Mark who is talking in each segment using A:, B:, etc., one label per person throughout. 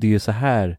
A: det är ju så här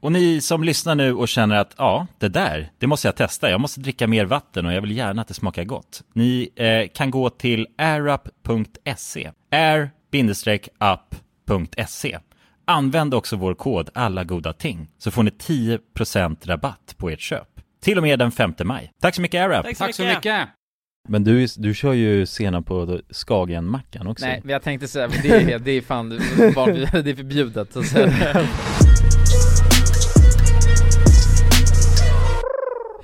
A: Och ni som lyssnar nu och känner att ja, det där, det måste jag testa. Jag måste dricka mer vatten och jag vill gärna att det smakar gott. Ni eh, kan gå till airup.se. air-up.se. Använd också vår kod alla goda ting så får ni 10% rabatt på ert köp. Till och med den 5 maj. Tack så mycket Arab!
B: Tack så
C: Tack så
B: mycket.
C: mycket.
A: Men du, du kör ju senap på Skagen-mackan också.
D: Nej, men jag tänkte säga, men det är, det är fan, det är förbjudet så att säga.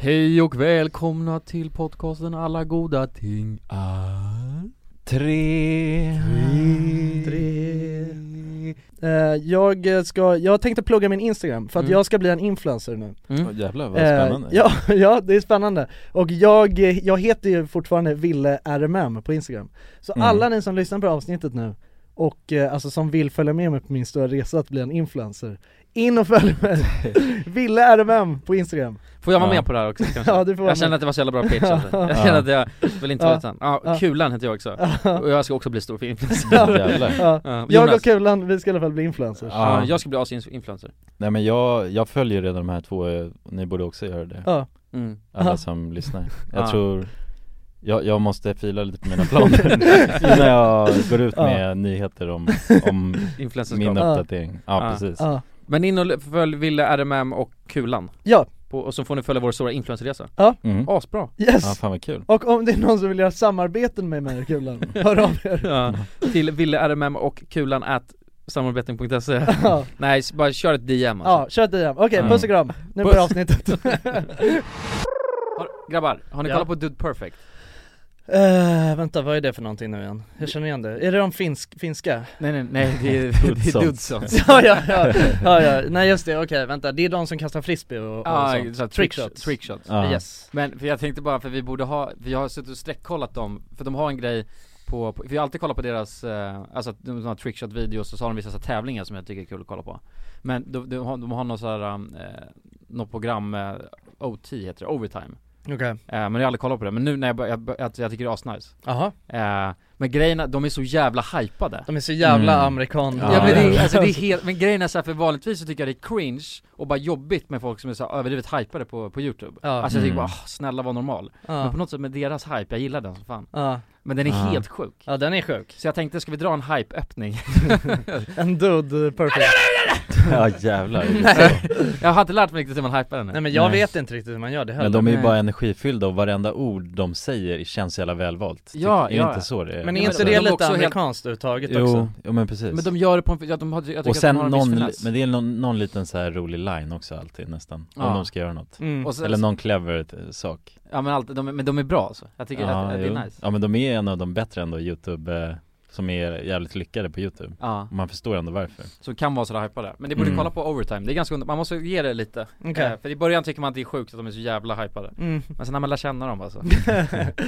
D: Hej och välkomna till podcasten Alla goda ting
A: Ah,
D: är
A: Tre.
E: Eh, jag eh, ska, jag tänkte plugga min Instagram för att
D: Mm.
E: jag ska bli en influencer nu
D: Mm.
A: jävlar vad
E: Eh, ja, ja, det är spännande. Och jag, eh, jag heter ju fortfarande Ville RMM på Instagram. Så
A: Mm.
E: alla ni som lyssnar på det här avsnittet nu och eh, alltså som vill följa med mig på min stora resa att bli en influencer, in och följ mig! Ville RMM på Instagram.
D: Får jag vara
A: Ja.
D: med på det här också kanske?
E: Ja, du får vara
D: jag känner
E: med.
D: att det var så jävla bra pitch alltså. Jag känner att jag vill inte vara
E: Ja.
D: utan. Ja,
E: Ja.
D: Kulan heter jag också. Och jag ska också bli stor för influencer.
A: Jävlar.
E: Ja.
D: Ja,
E: Jag och
D: Jonas.
E: Kulan, vi ska i alla fall bli influencers.
D: Ja, jag ska bli asinfluencer.
A: Ah, Nej men jag, jag följer redan de här två, eh, ni borde också göra det,
E: Ja.
D: Mm.
A: alla
E: Ja.
A: som lyssnar Jag
D: Ja.
A: tror, jag, jag måste fila lite på mina planer innan jag går ut
E: Ja.
A: med nyheter om, om
D: Influencerskap.
A: min
E: Ja.
A: uppdatering Ja,
D: Ja.
A: precis
E: Ja.
D: Men in och följ Ville RMM och Kulan.
E: ja,
D: På, och så får ni följa vår stora influencerresa.
A: mm.
D: Asbra!
A: Ja,
E: yes!
A: fan vad kul
E: Och om det är någon som vill göra samarbeten med mig och Kulan, hör av er!
D: Ja. Till Ville RMM och Kulan at samarbeten.se
E: Ja,
D: Nej, s- bara kör ett DM
E: ja
D: alltså.
E: kör ett DM. Okej,
D: Ja.
E: puss och kram! Nu
D: Puss.
E: börjar avsnittet!
D: har, Grabbar, har ni
B: Ja.
D: kollat på Dude Perfect?
E: Eh, vänta, vad är det för någonting nu igen? Jag känner igen det. Är det de finsk, finska?
D: Nej nej nej, det är,
A: Dudes Sons.
D: Dudesons
E: ja, ja, ja, ja, ja, nej just det, okej vänta, det är de som kastar frisbee och, och
D: Ja,
E: sånt.
D: såhär trickshots
E: Trickshots.
D: Trickshots
A: Ja.
E: Yes.
D: Men för jag tänkte bara, för vi borde ha, vi har suttit och streckkollat dem, för de har en grej på, på vi har alltid kollat på deras, eh, alltså att de de har trickshot-videos och så har de vissa så här tävlingar som jag tycker är kul att kolla på Men de, de, har, de har någon så här, eh, något program, eh, OT heter det, overtime
E: Okej.
D: eh, Men jag har aldrig kollat på det, men nu när jag, bör, jag, bör- jag, jag tycker det är asnice
E: Jaha.
D: eh, Men grejerna, de är så jävla hypade
E: De är så jävla
A: Mm.
E: amerikan.
D: Ja,
A: Ja,
D: men, det, är-
A: ja.
D: alltså, det är helt, men grejen är så här, för vanligtvis så tycker jag det är cringe och bara jobbigt med folk som är så här överdrivet hypade på, på youtube
E: Ja.
D: Alltså jag tycker
A: Mm.
D: bara, "Ah, snälla var normal Men på
E: ja.
D: något sätt med deras hype, jag gillar den som fan
E: Ja.
D: Men den är
A: Ja.
D: helt sjuk
E: ja, den är sjuk.
D: Så jag tänkte, ska vi dra en hype-öppning?
E: En dude eh, perfect.
A: Ja jävlar
D: jag har inte lärt mig riktigt hur man hypar den
E: Nej men jag
A: Nej.
E: vet inte riktigt hur man gör det heller.
A: Men de är ju
D: Nej.
A: bara energifyllda och varenda ord de säger känns så jävla välvalt Tycker-
D: Ja,
A: Är
D: ja.
A: det inte så det är? Alltså,
E: Men
D: Ja,
E: är inte
D: men de
E: det
D: är
E: lite
D: också helt-
E: amerikanskt överhuvudtaget
A: Jo,
E: också?
A: jo men precis
D: Men de gör det på en, ja, de har, jag tycker
A: Och
D: att
A: sen
D: de har en
A: någon,
D: viss finess
A: men det är någon, någon liten så här rolig line också alltid nästan,
D: Ja.
A: om de ska göra något
E: Mm.
D: och sen,
A: Eller någon clever eh, sak
D: Ja men, allt, de, är- men de är bra alltså, jag tycker att, att det
A: jo.
D: är nice
A: Ja men de är en av de bättre ändå youtube, eh, som är jävligt lyckade på youtube
D: Ja,
A: Man förstår ändå varför
D: som kan vara sådär hypade Men det borde
A: Mm.
D: kolla på overtime, det är ganska under, man måste ge det lite
E: Okej.
D: Eh, För i början tycker man att det är sjukt att de är så jävla hypade
E: Mm.
D: Men sen när man lär känna dem alltså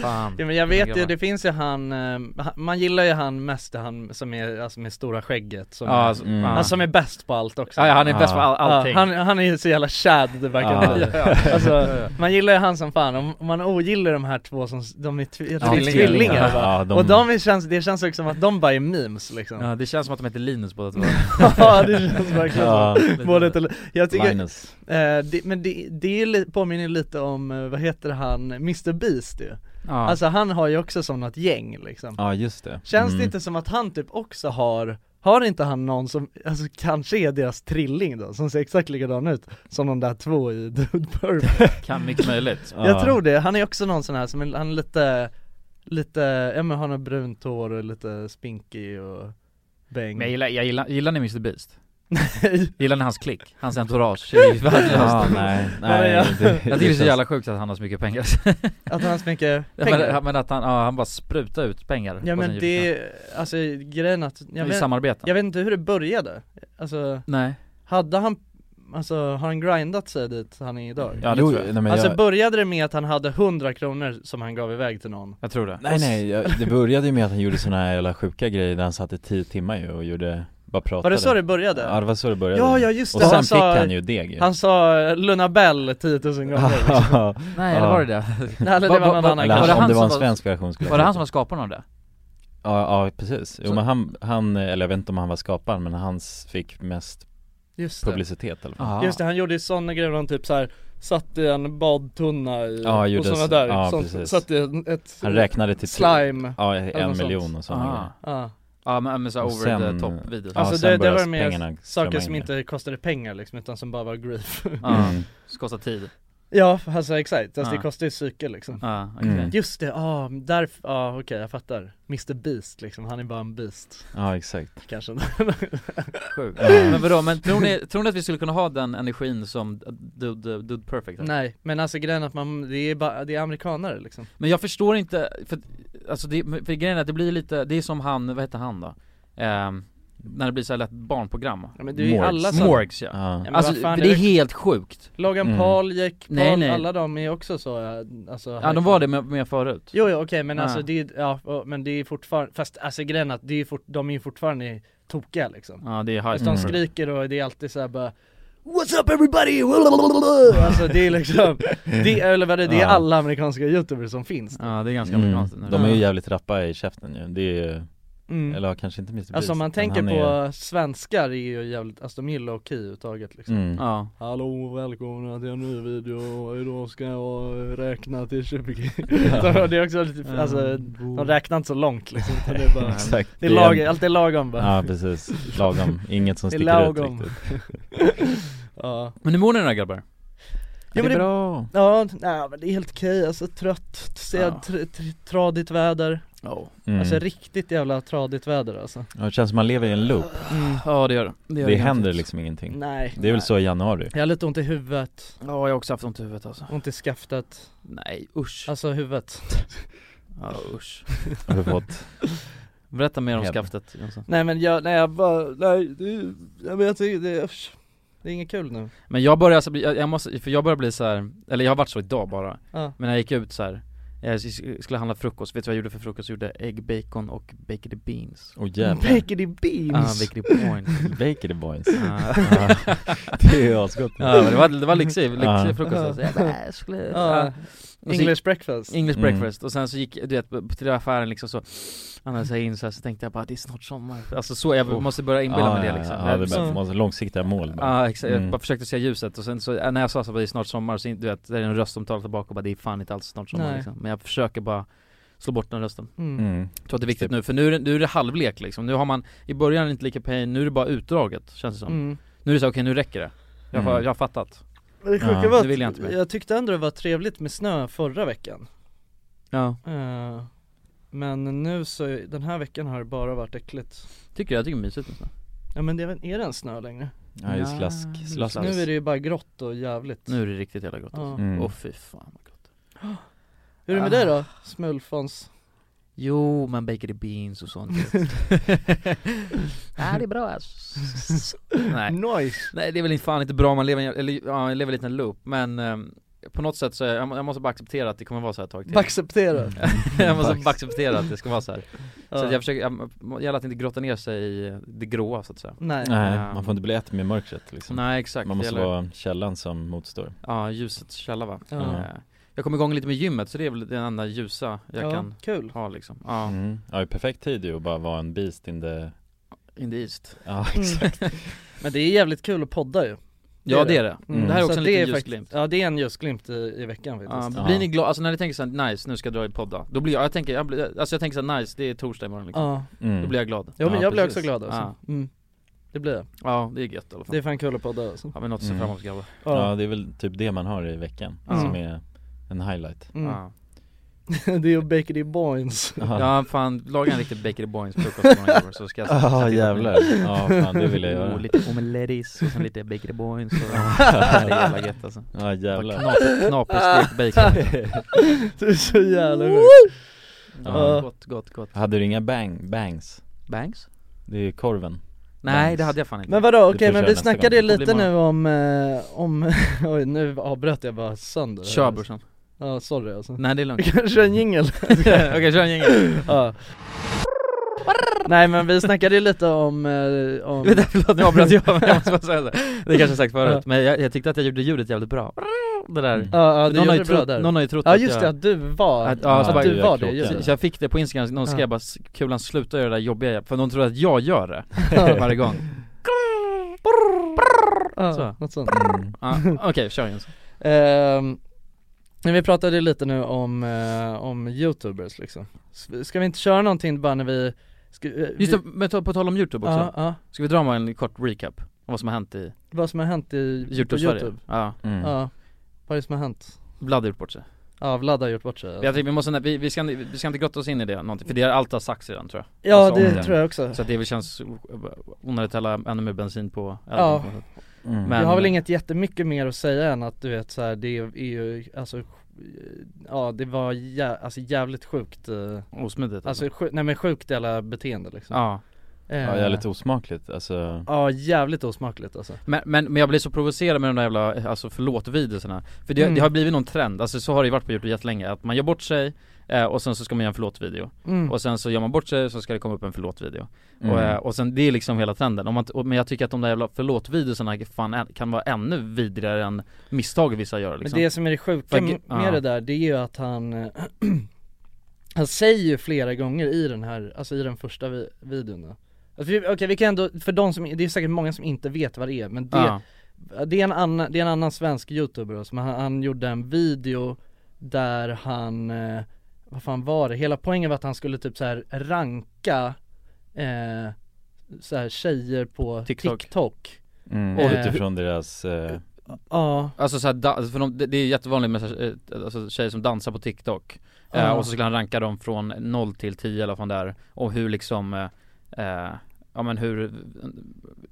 D: Fan
E: Ja, men jag vet ju,
D: grabbar.
E: det finns ju han, eh, han- man gillar ju han mest, han som är, alltså med stora skägget som,
D: Ja, alltså,
A: Mm.
D: ja.
E: han som är bäst på allt också
D: ja, ja, han är bäst på all,
E: Ja,
D: allting
E: han, han är ju så jävla chad det verkar
A: Ja.
E: ja. alltså, Man gillar ju han som fan, om om man ogillar de här två som, de är tv- jag tror det är
D: tvillingar.
E: tvillingar
D: Ja,
E: va?
A: ja, de-
E: Och de är, känns, det känns också som att de bara är memes liksom
D: Ja, det känns som att de heter Linus båda två
E: Ja det känns verkligen
A: Ja.
E: så Både till, jag tycker, eh,
A: Linus
E: det, men det, det är ju li- påminner lite om, eh, vad heter han, Mr Beast ju
D: ja.
E: Alltså han har ju också som något gäng liksom
A: Ja just det
E: Känns
A: Mm.
E: det inte som att han typ också har Har inte han någon som, alltså kanske är deras trilling då, som ser exakt likadan ut som de där två i Dude Perfect
D: Kan mycket möjligt
E: Jag tror det, han är också någon sån här som, är- han är lite, lite, ja men han har brunt hår och lite spinkig och bäng
D: Men jag gillar, jag gillar, gillar ni Mr Beast? Gillar ni hans klick? Hans entourage är ju värdelöst
A: Ja, nej,
E: men
A: nej
E: jag-
A: det- det
D: Jag tycker det är så
A: känns-
D: jävla sjukt att han har så mycket pengar
E: Att han har så mycket
D: Ja,
E: pengar
D: men, men att han, ja, han bara sprutar ut pengar
E: Ja
D: på
E: men
D: sin julklapp.
E: det, alltså grejen att, jag
D: I
E: vet,
D: samarbeten?
E: jag vet inte hur det började Alltså,
D: Nej
E: hade han, alltså har han grindat sig dit han är idag?
D: Ja det
A: Jo,
D: tror jag,
A: nej, men
E: Alltså
A: jag,
E: började det med att han hade 100 kronor som han gav iväg till någon?
D: jag tror det
A: nej nej, jag, det började ju med att han gjorde såna här jävla sjuka grejer där han satt i tio timmar ju och gjorde, bara pratade
E: Var det så det började?
A: Ja det var så det började
E: Ja, ja, just
A: Och
E: det.
A: sen
E: Han
A: fick
E: sa-
A: han ju deg ju
E: Han sa eh, Luna Bell 10 000 gånger
D: Nej eller
A: Ja.
D: var det det?
E: Nej eller det
D: Va-
E: var
D: va-
E: någon
D: va-
E: annan
A: Eller
D: Var det
A: han,
E: kanske.
A: om
D: han
A: det var en
D: som var-
A: svensk version skulle jag
D: Var det
A: säga.
D: han som var skaparen av det?
A: Ja, ja precis. Jo,
D: Så-
A: men han, han, eller jag vet inte om han var skaparen men hans fick mest
E: Just det.
A: publicitet i alla fall.
D: Aha.
E: Just det, han gjorde ju sådana grejer där han typ så här satt i en badtunna i,
A: Ja,
E: och
A: gjorde
E: sådana
A: så-
E: där,
A: ja,
E: sånt,
A: precis.
E: satt i en- ett
A: Han räknade till typ-
E: slime
A: Ja,
E: Eller
A: en
E: något
A: miljon och sådana
D: Ah.
A: grejer.
E: ja.
D: Ja men, men så här
A: Och
D: over
A: sen-
D: the top videos
A: Ja,
E: Alltså
A: sen
E: det, det var
A: började
E: mer
A: pengarna
E: saker
A: strömma
E: som
A: in, ja.
E: inte kostade pengar liksom utan som bara var grief
D: Ja,
A: Mm.
D: så kostar tid
E: Ja alltså exakt, alltså det
D: Ja.
E: kostar ju psyke liksom
D: Ja, okej
A: Mm.
E: Just det, ja, där, ja okej jag fattar Mr Beast liksom, han är bara en beast
A: Ja, exakt.
E: kanske
D: Sjukt.
A: Mm.
D: Men vadå, men tror ni, tror ni att vi skulle kunna ha den energin som Dude, Dude Perfect hade?
E: Nej, men alltså grejen är att man, det är bara, det är amerikanare liksom
D: Men jag förstår inte, för, alltså det, för grejen är att det blir lite, det är som han, vad heter han då? Ehm, när det blir så här lätt barnprogram
E: ja, men det är ju
A: Morgs.
E: alla som,
D: Morgs ja,
A: Ja.
E: Ja, men
D: Alltså
E: vad fan,
D: det är helt sjukt
E: Logan
A: Mm.
E: Paul, Jake Paul,
D: Nej, nej.
E: alla de är också så, eh, alltså
D: Ja de var det med, med förut
E: Jo, jo okej men
D: Ja.
E: alltså det är, ja och- men det är fortfarande, fast alltså grejen är att det är fort, de är ju fortfarande tokiga liksom
D: Ja det är
E: Fast
D: high
A: Mm.
E: de skriker och det är alltid såhär bara What's up everybody? Alltså det är liksom, det, är- eller vad det är, det är
A: Ja.
E: alla amerikanska youtubers som finns
D: Ja det är ganska
A: Mm.
D: amerikanskt
A: De är ju jävligt rappa i käften ju. Det är ju,
E: mm.
A: eller ja, kanske inte Mr.
E: Alltså om man
A: Beast,
E: tänker
A: men
E: på
A: han är
E: svenskar är ju jävligt, alltså de är low key uttaget liksom
A: ju- Mm.
D: Ja,
E: Hallå och välkomna till en ny video och idag ska jag räkna till 20 Så Det är också lite, alltså de räknar inte så långt liksom utan det är bara
A: Exakt.
E: Det är
A: en-
E: lagom, allt är lagom bara
A: Ja, precis. Lagom. Inget som
E: Det är
A: sticker
E: lagom.
A: ut riktigt.
E: Ja,
D: men hur mår ni då grabbar?
A: Ja,
E: men
A: det är
E: det-
A: bra.
E: ja nej, men det är helt okej, alltså trött, ser
D: Ja.
E: tr- tr- tradigt väder
A: Mm.
E: Alltså riktigt jävla tradigt väder alltså Mm.
A: Ja, det känns som man lever i en loop.
D: Ja det gör det gör
A: Det händer
D: garanterat.
A: liksom ingenting.
E: Nej
A: Ah, Det är väl så i januari?
E: Jag har lite ont i huvudet,
A: liksom.
D: Ja jag har också haft ont i huvudet alltså
E: ont i skaftet,
D: Nej usch
E: alltså huvudet
D: Ja usch
A: Har du fått?
D: Berätta mer om
A: Hem.
D: skaftet Jonsson.
E: Nej men jag, nej jag bara, nej, det, jag vet inte, det, usch. det är inget kul nu
D: Men jag börjar alltså bli, jag, jag måste, för jag börjar bli så här, eller jag har varit så idag bara
E: Ja.
D: Men när jag gick ut så här. Jag s- skulle handla frukost, vet du vad jag gjorde för frukost? Jag gjorde ägg, bacon och baked beans
A: Åh jävlar.
E: Baked in
D: Ah,
E: beans!
D: baked points
A: Bakery boys.
D: ah.
A: Ja. det är asgott.
D: Ja men det var, det var lyxig, lyxig
A: Ja.
D: frukost alltså. jag bara, jag skulle,
E: Ja.
D: ja. Och så gick-
E: English breakfast
D: English
A: Mm.
D: breakfast, och sen så gick, du vet, till affären liksom så Annars jag in så, här, så tänkte jag bara det är snart sommar Alltså så, jag
A: Oh.
D: måste börja inbilla mig det liksom
A: Ja, ja, det är
D: Jag-
A: bättre. Man måste långsiktiga mål bara.
D: Ja exakt, jag
A: Mm.
D: bara försökte se ljuset och sen så, när jag sa så bara, det är snart sommar, så in- du vet, det är en röst som talar tillbaka och bara det är fan inte alls snart sommar
E: Nej.
D: liksom. Men jag försöker bara slå bort den rösten.
E: mm.
A: Mm.
D: Jag tror att det är viktigt nu, för nu är det, nu är det halvlek liksom. Nu har man, i början är det inte lika pain, nu är det bara utdraget känns det som.
E: Mm.
D: Nu är det så, okej nu räcker det. Jag har,
A: Mm.
D: jag har fattat.
E: Men Det sjuka
A: Ja,
E: var
D: det vill jag inte
E: att
D: mer.
E: jag tyckte ändå det var trevligt med snö förra veckan
D: Ja.
E: Eh, Men nu så, den här veckan har det bara varit äckligt
D: Tycker jag, jag tycker det är mysigt nästan.
E: Ja men det är, väl- är det ens snö längre?
A: Ja, just slask.
D: Ja,
A: slask.
D: slask.
E: Nu är det ju bara grått och jävligt
D: Nu är det riktigt jävla gott. Åh
E: ja.
A: Mm.
D: fy fan vad gott.
E: Hur är det med
D: Ah.
E: dig då? Smulfons?
D: Jo, man baker the beans och sånt. Nej det är bra alltså. Nej.
E: Nice!
D: Nej det är väl inte fan inte bra, man lever, i en- eller, ja, jag lever i en liten loop men ehm, på något sätt så, är, jag, må- jag måste bara acceptera att det kommer vara så här ett tag till
E: Acceptera!
D: Jag måste bara acceptera att det ska vara så här. Så
E: Ja.
D: att jag försöker, jag, må- gäller att inte grotta ner sig i det gråa så att säga
E: Nej,
A: Nej,
D: Ja.
A: man får inte bli ett med mörkret liksom.
D: Nej exakt,
A: Man måste
D: det gäller-
A: vara källan som motstår.
D: ja ljusets källa va
E: Ja.
D: Eh, Jag kom igång lite med gymmet så det är väl den enda ljusa jag
E: ja,
D: kan
E: kul
D: ha liksom, ja,
A: Mm. Ja, i perfekt tid ju att bara vara en beast in the...
D: in the east
A: Ja,
E: Mm. Men det är jävligt kul att podda ju
D: Ja det är det.
A: Mm.
D: Det här är också
E: Så
D: en
E: det
D: liten
E: faktiskt-
D: ljusglimt
E: Ja det är en ljusglimt i, i veckan
D: Ja,
E: faktiskt.
A: Ja.
D: blir ni glada, alltså när ni tänker såhär nice, nu ska jag dra i podda, då blir jag, jag tänker, jag blir, alltså jag tänker såhär nice, det är torsdag imorgon liksom.
E: Ja,
A: Mm.
D: Då blir jag glad
E: jo, men
A: Ja,
E: jag blir också
D: precis.
E: glad alltså. Mm. Det blir jag.
D: Ja det är gött i alla fall
E: Det är fan kul att podda alltså.
D: Har vi något att se
A: Mm.
D: fram emot grabbar?
A: Ja det är väl typ det man har i veckan
D: Ja.
A: som är en highlight
E: Mm.
D: Ja.
E: det är ju Bakery Boyns.
D: ja fan, laga en riktig Bakery Boys frukost imorgon grabbar, så ska jag sätta-
A: Ja
D: sätta igång.
A: jävlar, ja fan det vill jag
D: Oh,
A: göra
D: lite omelettis och sen lite Bakery Boys och det är jävla gött alltså
A: Ja
D: Bara
A: jävlar
D: knap- Knaperstekt bacon
E: det är så jävla sjukt.
D: ja.
A: ja.
D: Gott, gott, gott
A: Hade du inga bang, bangs?
D: Bangs?
A: Det är korven
D: Nej
A: Bangs.
D: det hade jag fan inte
E: Men vadå,
A: Du
E: okej men
A: får köra
E: vi
A: nästa
E: snackade ju
A: gång.
D: Det blir
E: lite nu
D: många.
E: om, eh, om, oj nu avbröt jag bara sönder
D: Kör brorsan
E: Ja sorry alltså
D: Nej det är lugnt
E: Kanske en jingel
D: Okej kör en jingel
E: Ja Nej men vi snackade ju lite om, eh, om
D: Vänta, förlåt nu avbröt jag, men jag måste bara säga det Det kanske jag sagt förut, men jag, jag tyckte att jag gjorde ljudet jävligt bra Det där
A: Mm.
E: Ja ja, du
D: någon, har
E: gjorde
D: ju
E: det bra
D: trott,
E: där
D: någon har ju trott
E: Ja
D: att
E: just det,
D: jag,
E: att du var,
D: Att- ja,
E: att
D: så bara-
E: du var det,
A: jag
E: just
D: så,
E: det
D: så jag fick det på instagram, någon skrev
E: Ja.
D: bara 'Kulan sluta göra det där jobbiga' för de tror att jag gör det varje gång
E: ja,
D: så.
E: något sånt
A: mm.
D: ja, Okej, kör Jens
E: Ehm, men vi pratade ju lite nu om, eh, om youtubers liksom S- Ska vi inte köra någonting bara när vi ska, eh, vi-
D: Just det, men ta- på tal om youtube också,
E: Ja, ja,
D: ska vi dra bara en kort recap? Om vad som har hänt i
E: vad som har hänt i på
D: youtube-Sverige?
E: youtube
D: Ja,
A: Mm.
E: Ja, vad är det som har hänt?
D: Vlad har gjort bort sig
E: Ja, Vlad har gjort bort sig
D: Jag tycker vi måste, vi, vi, ska, vi ska inte grotta oss in i det någonting, för det har allt har sagts redan tror jag
E: Ja
D: alltså, om
E: det
D: det.
E: tror jag också,
D: Så att det väl känns onödigt att hälla ännu mer bensin på
E: Ja.
D: på något sätt.
A: Mm.
D: Men-
E: jag har väl inget jättemycket mer att säga än att du vet så här, det är ju alltså Ja det var jä- alltså, jävligt sjukt, eh,
D: Osmidigt
E: alltså sju- nej men sjukt jävla beteende liksom
D: Ja,
E: Eh,
A: Ja jävligt osmakligt alltså
E: Ja jävligt osmakligt alltså
D: men, men, men jag blir så provocerad med de där jävla, alltså förlåt-videorna För det,
E: Mm.
D: det har blivit någon trend, alltså så har det ju varit på Youtube jättelänge, att man gör bort sig eh, och sen så ska man göra en förlåt-video
E: mm.
D: Och sen så gör man bort sig så ska det komma upp en förlåt-video
A: mm.
D: och, eh, och sen det är liksom hela trenden, Om man, t- och, men jag tycker att de där jävla förlåt-videorna fan ä- kan vara ännu vidrigare än misstag vissa gör liksom
E: Men det som är det sjuka
D: För-
E: med
D: ja.
E: det där det är ju att han eh, Han säger ju flera gånger i den här, alltså i den första vi- videon då. Alltså, vi- Okej vi kan ändå, för de som, det är säkert många som inte vet vad det är men det,
D: Ja.
E: det är en annan, det är en annan svensk youtuber då, som han, han gjorde en video där han, eh, vad fan var det? Hela poängen var att han skulle typ så här ranka eh, så här tjejer på
D: TikTok.
E: TikTok,
A: mm.
E: och-
A: Utifrån deras, eh,
E: Ja,
D: Alltså såhär, da- för de, det det är jättevanligt med så här, eh, alltså, tjejer som dansar på TikTok eh,
E: Ja.
D: Och så skulle han ranka dem från 0 till 10 eller vad fan där Och hur liksom, eh, eh, ja men hur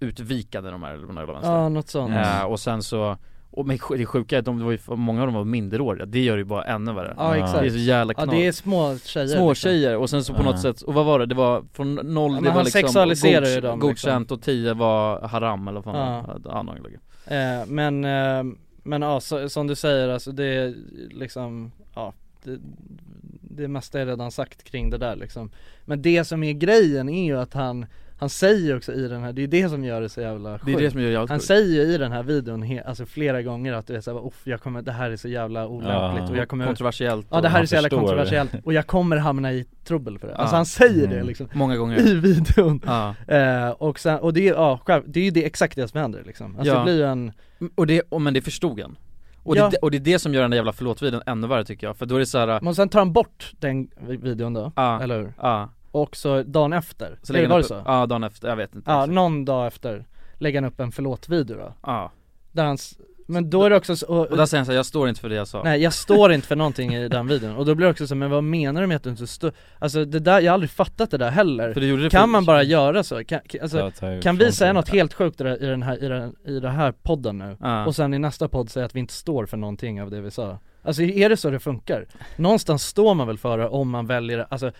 D: utvikade de är eller vad det var
E: ja något sånt
A: Mm.
D: eh, Och sen så, och men det sjuka är att de, det var ju, många av dem var minderåriga, det gör det ju bara ännu värre
E: Ja
A: Ja.
E: exakt
D: Det är så jävla
E: Ja
D: knas
E: det är små tjejer
D: Små
E: liksom.
D: tjejer och sen så på
A: Ja.
D: något sätt, och vad var det? Det var från noll,
E: men
D: det var
E: han
D: liksom
E: sexualiserar ju
D: godk-
E: dem, liksom.
D: godkänt och 10 var haram eller vad fan
E: Ja.
D: det var. ja. någon lägger.
E: Eh, men, eh, men ja, så, som du säger alltså det är liksom, ja det, det mesta är redan sagt kring det där liksom Men det som är grejen är ju att han, han säger också i den här, det är det som gör det så jävla sjukt
D: Det är det som gör jävligt
E: Han
D: sjukt.
E: säger ju i den här videon he, alltså flera gånger att du vet såhär, uff jag kommer, det här är så jävla olämpligt
A: Ja.
E: och jag kommer
D: Kontroversiellt
E: Ja det här
A: han
E: är så jävla
A: förstår det.
E: kontroversiellt och jag kommer hamna i trubbel för det Alltså
D: Ja.
E: han säger det
A: Mm.
E: liksom
D: och många gånger
E: i videon
D: Ja,
E: Eh, och sen, och det är, ja, själv, det är ju det exakt det som händer liksom. Alltså
D: Ja.
E: det blir ju en,
D: och det, och, men det förstod han och,
E: Ja.
D: det, och det är det som gör den där jävla förlåt-videon ännu värre tycker jag, för då är det såhär,
E: men sen tar han bort den vi- videon då,
D: ja,
E: eller hur?
D: ja,
E: Och så dagen efter,
D: så
E: eller
D: lägger
E: var
D: han
E: det
D: upp,
E: så? Ja,
D: ja dagen efter, jag vet inte exakt.
E: någon dag efter lägger han upp en förlåt-video då,
D: ja.
E: där han, s- men då är det också så, och,
D: Och där säger han såhär, jag står inte för det jag sa
E: nej jag står inte för någonting i den videon, och då blir det också så, men vad menar du med att du inte står, alltså det där, jag har aldrig fattat det där heller
D: för du gjorde det för-
E: Kan man bara göra så? Kan, kan- alltså,
A: ta- ta
E: kan vi
A: ifrån
E: säga
A: sig.
E: något helt sjukt i den- i den här, i den, i den här podden nu?
D: ja.
E: och sen i nästa podd säga att vi inte står för någonting av det vi sa Alltså är det så det funkar? Någonstans står man väl för det om man väljer, alltså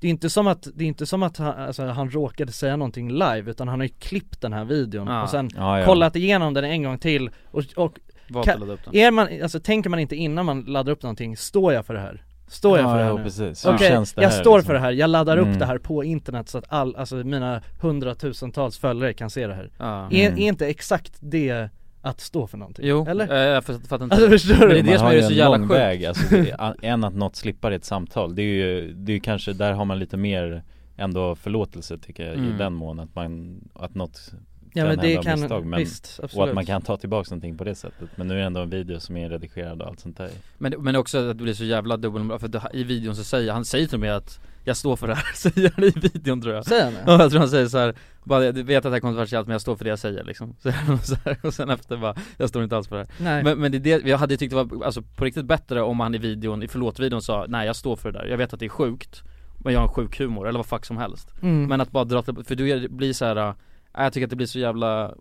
E: det är inte som att, det är inte som att han, alltså, han råkade säga någonting live utan han har ju klippt den här videon
D: Ja.
E: och sen
A: ja, ja.
E: kollat igenom den en gång till och, och
D: Valt
E: kan-
D: att ladda upp den
E: är man, alltså tänker man inte innan man laddar upp någonting, står jag för det här? Står jag
A: ja,
E: för det
A: ja,
E: här nu?
A: precis, Hur
E: Okej,
A: känns det
E: jag
A: här,
E: står
A: liksom?
E: för det här, jag laddar upp
A: Mm.
E: det här på internet så att all, alltså mina hundratusentals följare kan se det här
D: ja.
E: är,
A: Mm.
E: är inte exakt det att stå för någonting?
D: Jo,
E: Eller?
D: eh, jag fatt- fattar inte
E: Alltså förstår
D: Men det
E: du?
D: är det som
A: har
D: är
A: ju
D: så
A: en
D: jävla
A: lång
D: sjukt
A: väg, alltså, det är, än att något slippar i ett samtal Det är ju, det är ju kanske, där har man lite mer ändå förlåtelse tycker jag
D: Mm.
A: i den mån att man, att något gjort en enda misstag men,
E: visst, absolut.
A: och att man kan ta tillbaka någonting på det sättet Men nu är det ändå en video som är redigerad och allt sånt där
D: Men, men också att det blir så jävla dubbelmoral, för det, i videon så säger han, säger till och med att jag står för det här, säger han i videon tror jag
E: Säger han det?
D: Ja, jag tror han säger så här, bara jag vet att det här är kontroversiellt men jag står för det jag säger liksom så här, och så här, Och sen efter bara, jag står inte alls för det här
E: Nej,
D: men, men det är det, jag hade tyckt det var alltså, på riktigt bättre om han i videon, i förlåt-videon sa Nej jag står för det där, jag vet att det är sjukt Men jag har en sjuk humor, eller vad fuck som helst
E: mm.
D: Men att bara dra till- för du är- det blir så här. äh, jag tycker att det blir så jävla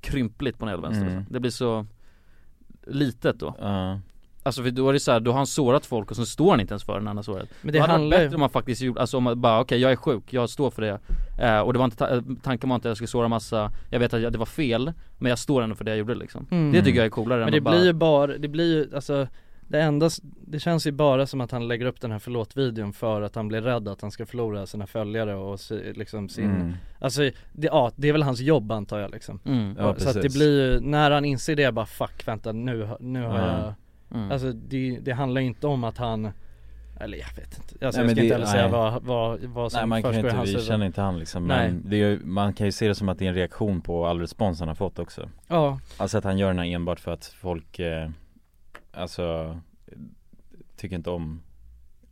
D: krympligt på den jävla vänster
A: Mm.
D: Det blir så litet då
A: Ja,
D: Alltså för då är det så här, då har han sårat folk och så står han inte ens för den han har sårat
E: men
D: Det
E: det
D: hade varit
E: handlar ju
D: bättre om man faktiskt gjorde, alltså om man bara okej jag är sjuk, jag står för det eh, Och det var inte, ta- eh, tanken var inte att jag skulle såra massa Jag vet att jag, det var fel, men jag står ändå för det jag gjorde liksom
E: Mm.
D: Det tycker jag är coolare än
E: Men det
D: att bara,
E: blir ju bara, det blir ju, alltså det enda, s- det känns ju bara som att han lägger upp den här förlåt-videon för att han blir rädd att han ska förlora sina följare och si, liksom sin,
A: mm.
E: alltså det, ja, det är väl hans jobb antar jag liksom
D: mm,
A: ja
E: Så att det
A: precis.
E: blir ju, när han inser det bara fuck vänta nu, har- nu har
A: Ja.
E: jag,
D: mm.
E: alltså det, det handlar ju inte om att han eller jag vet inte, alltså
A: Nej, men
E: jag ska
A: det-
E: inte heller säga
A: nej.
E: vad, vad, vad som
A: Nej man kan ju
E: försiggår i
A: inte,
E: hans
A: vi
E: huvud
A: känner inte han liksom
E: Nej.
A: Men det är, ju- man kan ju se det som att det är en reaktion på all respons han har fått också
E: Ja,
A: Alltså att han gör den här enbart för att folk, eh, alltså, tycker inte om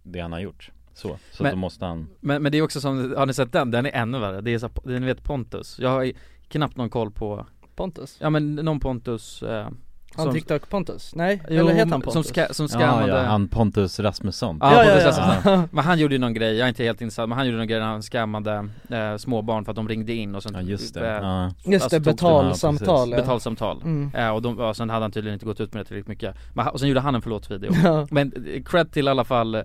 A: det han har gjort Så, så
D: Men-
A: då måste han
D: Men, men det är också som, har ni sett den? Den är ännu värre, det är så, här- det är, ni vet Pontus Jag har knappt någon koll på,
E: Pontus,
D: ja men någon Pontus eh,
E: han
D: som-
E: TikTok-Pontus? Nej,
D: jo,
E: eller heter han Pontus?
D: Som, ska, som
A: ja,
D: scammade
A: ja, han Pontus Rasmusson
D: Ja,
E: ja,
D: Pontus
E: ja,
D: Rasmusson.
E: ja, ja.
D: Men han gjorde ju någon grej, jag är inte helt insatt, men han gjorde någon grej när han scammade eh, småbarn för att de ringde in och sånt
A: Ja just
E: Typ,
A: det,
D: eh,
A: ja.
E: Just
D: Alltså, tog
E: det,
D: den
A: här,
E: betalsamtal ja.
D: Betalsamtal
E: Mm.
D: eh, och, de, och sen hade han tydligen inte gått ut med det tillräckligt mycket men, han- Och sen gjorde han en förlåt-video
E: Ja.
D: Men eh, cred till i alla fall eh,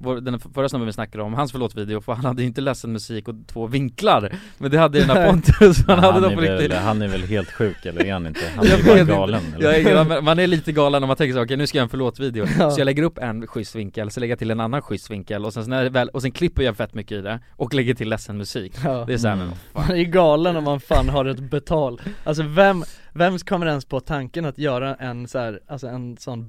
D: vår, den förra snubben vi snackade om, hans förlåt-video för han hade ju inte ledsen musik och två vinklar Men det hade ju den här Pontus, han
A: Men
D: hade
A: han,
D: dem
A: är
D: på
A: väl,
D: riktigt
A: han är väl helt sjuk eller är han inte? Han är
D: Jag
A: ju
D: vet
A: bara
D: inte.
A: galen
D: jag
A: eller?
D: är, man- man är lite galen om man tänker så, okej nu ska jag göra en förlåt-video
E: Ja.
D: Så jag lägger upp en schysst vinkel, så lägger jag till en annan schysst vinkel och sen, så när det väl, och sen klipper jag fett mycket i det och lägger till ledsen musik
E: Ja.
D: Det är såhär,
A: Mm.
D: men vad
E: Man
D: fan
E: är ju galen om man fan har ett betal Alltså vem, vem kommer ens på tanken att göra en så här, alltså en sån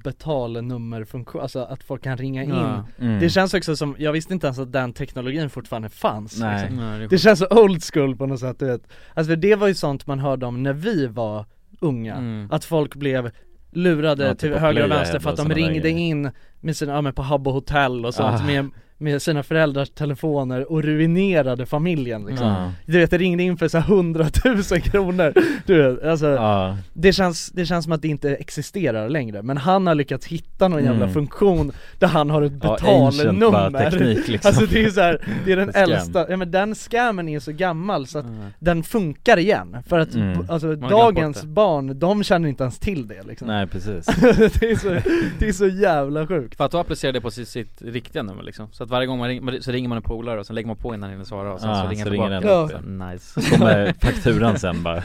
E: betalnummerfunktion, alltså att folk kan ringa in
D: Ja.
A: Mm.
E: Det känns också som, jag visste inte ens att den teknologin fortfarande fanns
A: Nej.
E: liksom.
D: Nej, det
E: Det
D: är
E: känns så old school på något sätt du vet Alltså för det var ju sånt man hörde om när vi var unga,
D: Mm.
E: att folk blev lurade
A: Ja, typ
E: till
A: på
E: höger och
A: Playa
E: vänster för att
A: och
E: de
A: såna där
E: ringde
A: grejer.
E: in med sina, ja men på Habbo hotell och sånt
A: Ah.
E: med, med sina föräldrars telefoner och ruinerade familjen liksom
A: Ja,
E: du vet, jag ringde in för så här 100 000 kronor Du vet, alltså
A: ja.
E: det, känns, det känns som att det inte existerar längre Men han har lyckats hitta någon jävla
A: Mm.
E: funktion där han har ett
A: Ja, ancient bara
E: betalnummer
A: teknik liksom
E: Alltså det är så här, det är den
A: Scam.
E: äldsta, ja men den scammen är så gammal så att
D: Mm.
E: den funkar igen För att
A: Mm.
E: b- alltså,
D: har glömt
E: dagens
D: bort
E: barn, de känner inte ens till det liksom
A: Nej precis
E: det, är så, det är så jävla sjukt
D: För att då applicerar det på sitt, sitt riktiga nummer liksom Så att varje gång man ringer, man- så ringer man en polare och sen lägger man på innan den svarar och sen
A: Ja,
D: så ringer
A: så
D: han
A: ringer
D: tillbaka
E: den upp,
D: Så, Nice
A: Kommer fakturan sen bara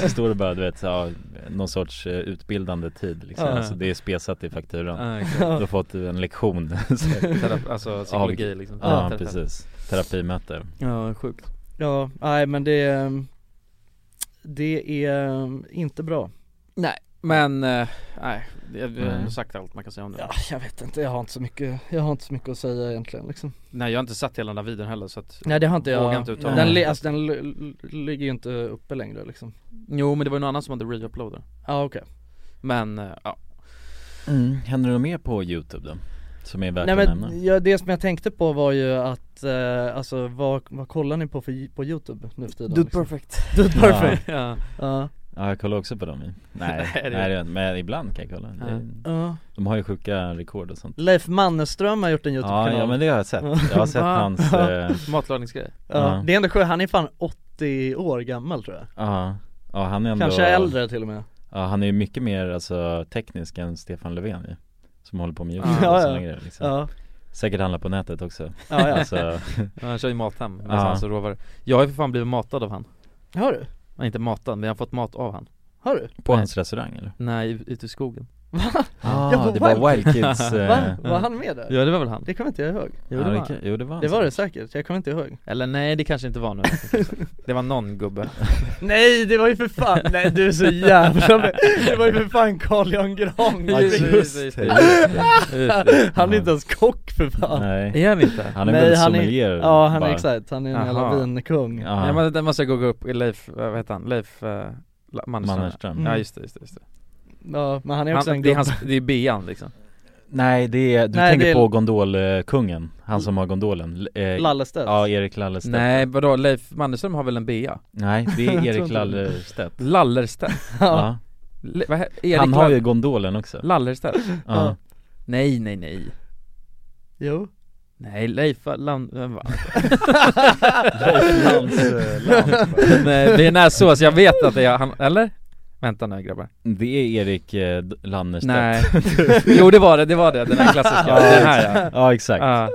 A: Så står det bara du vet så, ja, någon sorts eh, utbildande tid liksom
E: Ja.
A: Alltså det är spesat i fakturan
D: Ja, exakt.
A: Du har fått en lektion så,
D: Terapi- Alltså psykologi liksom
A: Ja
D: Terapi.
A: precis, terapimöte
D: Ja sjukt
E: Ja, nej men det, ehm, det är ehm, inte bra
D: Nej men, eh, nej, det- vi har
A: Mm.
D: ändå sagt allt man kan säga om det
E: Ja, jag vet inte, jag har inte så mycket, jag har inte så mycket att säga egentligen liksom.
D: Nej jag har inte sett hela den där videon heller så att
E: Nej det har inte
D: inte jag-
E: jag,
D: uttala
A: mig.
E: den, li- alltså, den l- l- ligger ju inte uppe längre liksom
D: Jo men det var ju någon annan som hade reuploadat
E: Ja ah, okej,
D: Men, eh, ja
A: Händer det något mer på youtube då? Som är värt
E: nej
A: att
E: men
A: nämna?
E: ja, det som jag tänkte på var ju att, eh, alltså vad, vad kollar ni på för, på youtube nu för tiden? liksom?
D: perfect
E: Dude perfect!
D: Ja,
E: Ja,
A: Ja jag kollar också på dem ju. Nej,
D: Nej,
A: nej,
D: det-
A: det gör jag inte. men ibland kan jag kolla
D: Ja.
A: Det-
E: ja.
A: De har ju sjuka rekord och sånt
E: Leif Mannerström har gjort en
A: Ja,
E: youtube-kanal
A: ja men det har jag sett, jag har sett
D: Va?
A: hans, eh,
D: matlagningsgrej
E: Ja,
A: ja.
E: Det är ändå skönt, han är fan 80 år gammal tror jag
A: ja Ja han är ändå
E: Kanske äldre till och med
A: Ja han är ju mycket mer alltså teknisk än Stefan Löfven ju Som håller på med youtube
E: Ja,
A: och
E: ja.
A: såna grejer liksom
E: Ja,
A: Säkert handlar på nätet också
E: ja, ja.
A: alltså,
D: Ja, Han kör ju Mathem med
A: Ja.
D: hans råvaror Jag har ju för fan blivit matad av han
E: Har du?
D: Nej inte matad, men jag har fått mat av han
E: Har du?
A: På
D: Nej.
A: hans restaurang eller?
D: Nej, ute i skogen
E: Va?
A: Ah,
E: Ja,
A: det var
E: Wild
A: Wild Kids
E: Va?
A: eh,
E: Var han med där?
D: Ja det var väl han?
E: Det kommer inte jag ihåg
D: Jo,
A: ja,
D: det
A: det
D: var
A: kan- Jo det var han
E: Det var det säkert, jag kommer inte ihåg
D: Eller nej det kanske inte var nu Det var någon gubbe
E: Nej det var ju för fan, nej du är så jävla med. Det var ju för fan Carl Jan Granberg
A: Ja, just det, just det, just det, just det.
E: Han är inte ens kock för fan
A: Nej,
D: Är han inte?
A: han är
E: Nej,
A: väl
E: han är-
A: sommelier
E: Ja han är
A: bara.
E: exakt, han är en jävla
D: Aha.
E: vinkung
A: Ja,
D: Ja men det måste jag googla upp, Leif, eh, vad heter han? Leif eh, La- Mannerström
A: Mannerström.
E: Mm.
D: Ja just det, just det, just det.
E: Ja men han är också en
D: Han, det, är
E: gubbe
D: hans, det är Bean liksom
A: Nej det är, du
E: Nej,
A: tänker
E: det är-
A: på gondolkungen, han som har gondolen eh,
E: Lallestedt
A: Ja, Erik Lallerstedt Nej,
D: Nej vadå, Leif Mannerström har väl en bea?
A: det är
E: Jag tror
A: Erik
E: inte-
A: Lallerstedt
D: Lallerstedt?
E: Ja.
A: ja.
D: Le, vad he- Erik
A: Han har
D: Lall-
A: ju gondolen också
D: Lallerstedt?
A: ja.
D: Nej nej nej
E: Jo
D: Nej Leif Land...
A: Lans, eh, Lans.
D: Nej det är näsås, jag vet att det är han, eller? Vänta nu grabbar
A: Det är Erik eh, D- Lannerstedt
D: Nej Jo det var det, det var det, den här klassiska, den här ja
A: Ja exakt,
D: Ja,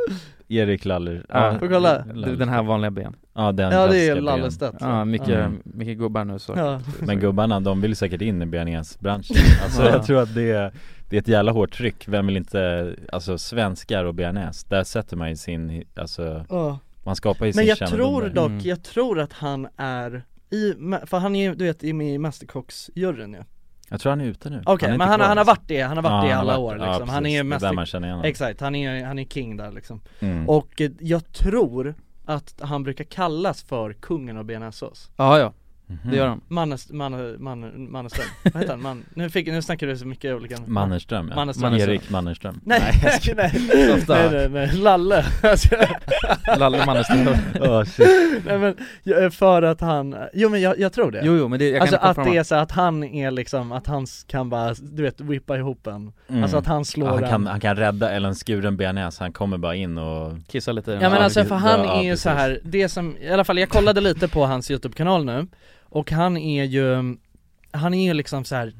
A: Erik Laller
D: ja.
E: Får kolla.
D: D- Den här vanliga ben
A: Ja den
E: Ja det
A: klassiska
E: är
A: Ben.
E: Lallestedt
D: Ja, mycket,
A: Mm.
D: mycket gubbar nu så
E: Ja.
A: Men gubbarna, de vill säkert in i bearnaisebranschen Alltså
D: Ja.
A: jag tror att det är, det är ett jävla hårt tryck, vem vill inte, alltså svenskar och bearnaise, där sätter man ju sin, alltså
E: Ja.
A: man skapar ju
E: Men
A: sin
E: jag
A: kännedom
E: tror
A: där.
E: dock,
D: Mm.
E: jag tror att han är i, för han är ju, du vet, är med i Mästerkocksjuryn ju
A: Jag tror han är ute nu
E: Okej,
A: är inte
E: men han,
A: kvar,
E: han har
A: alltså.
E: varit det, han har varit det i
A: Ja,
E: alla
A: varit-
E: år liksom. han är
A: precis.
E: ju
A: Det är där man
E: mest,
A: känner igen honom
E: exakt, han är, han är king där liksom
A: mm.
E: Och eh, jag tror att han brukar kallas för kungen av bearnaisesås
D: Ja ja,
A: Mhm.
D: det gör de
E: Mannes, Manne, Manne, Manneström, vad heter han? Man, nu, fick, nu snackar du så mycket olika
A: Mannerström ja,
E: Mannerström. alltså.
A: Erik Mannerström
E: Nej, nej, nej, nej, nej, nej, Lalle alltså,
D: Lalle Mannerström
A: Åh, shit.
E: nej, men, jag- eh, För att han, jo men jag, jag tror det
D: Jo jo men det, jag
E: Alltså
D: kan
E: att
D: inte
E: det är så att han är liksom, att han s- kan bara, du vet, whippa ihop en
A: Mm.
E: Alltså att han slår
A: Ja, han, kan,
E: en
A: han kan rädda eller en skuren bearnaise, han kommer bara in och
D: Kissa lite i den
E: Ja men
A: Ja,
E: alltså
A: precis.
E: för han
A: Ja,
E: är ju
A: precis.
E: så här det som, i alla fall jag kollade lite på hans YouTube-kanal nu Och han är ju, han är ju liksom så här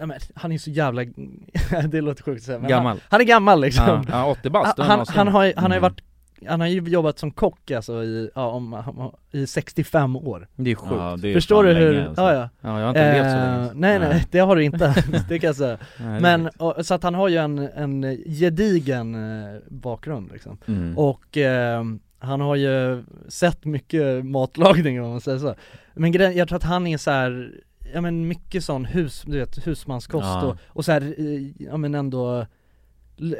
E: ja, men han är så jävla, det låter sjukt att säga men
D: Gammal.
E: Han, han är gammal liksom
D: Ja, ja 80 bast, då är
E: han,
D: någonsin-
E: han har ju, han har ju
A: Mm.
E: varit, han har ju jobbat som kock alltså i, ja, om, om, i 65 år
D: Det är sjukt
A: ja, det är
E: Förstår
A: fan
E: du hur,
A: länge, alltså.
E: ja ja
D: Ja jag har inte levt så
E: Eh,
D: länge
E: nej, nej
A: Nej.
E: det har du inte, det kan jag säga
D: Nej, det är
E: Men,
D: sjukt.
E: och, så att han har ju en, en gedigen eh, bakgrund liksom
A: mm.
E: och eh, han har ju sett mycket matlagning om man säger så Men grejen, jag tror att han är så här, ja men mycket sån hus, du vet, husmanskost
A: Ja.
E: och, och så här, eh, ja men ändå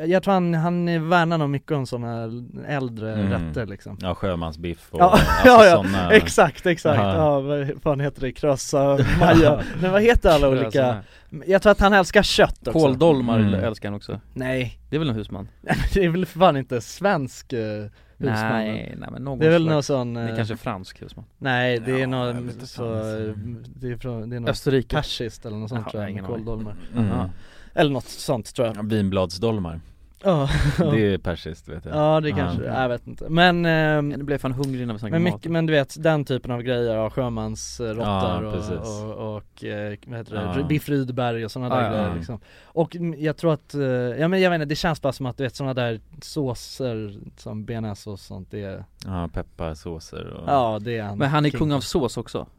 E: Jag tror han, han värnar nog mycket om såna äldre
A: Mm.
E: rätter liksom
A: Ja sjömansbiff och
E: Ja,
A: alltså,
E: ja, ja,
A: såna-
E: Exakt, exakt!
A: Ja.
E: Ja, vad fan heter det? Krösa, maja, men vad heter alla olika? Jag tror att han älskar kött också
D: alltså, Kåldolmar
A: Mm.
D: älskar han också
E: Nej,
D: Det är väl en husman?
E: det är väl för fan inte svensk eh, husman?
D: Nej, nej men någon
E: Det är väl
D: slags-
E: någon sån
D: Det är
E: eh,
D: kanske fransk husman
E: Nej det är
A: Ja, jag vet
E: något
A: inte
E: så,
A: fan, alltså.
E: det är från, det är något
D: Österrike
E: persiskt eller något sånt
D: Ja,
E: tror jag,
D: ingen
E: med
D: aning.
E: kåldolmar
A: mm.
E: Eller något sånt tror jag
A: Ja, Vinbladsdolmar,
E: Ja,
A: det är persiskt vet jag
E: ja det kanske det är, jag vet inte Men,
D: Ja,
E: ehm,
D: Nu blev jag fan hungrig när vi snackade
E: men,
D: mat
E: mycket, men du vet den typen av grejer, ja, sjömansråttor
A: Ja, precis.
E: och, och, och eh, vad heter det,
A: Ja.
E: biff Rydberg och sådana
D: Ja,
E: där
D: ja,
E: grejer
A: ja.
E: liksom Och mm, jag tror att, eh, ja men jag vet inte, det känns bara som att du vet sådana där såser som bearnaise och sånt det, är-
A: Ja, pepparsåser och
E: ja det är han
D: Men han är
E: king.
D: kung av sås också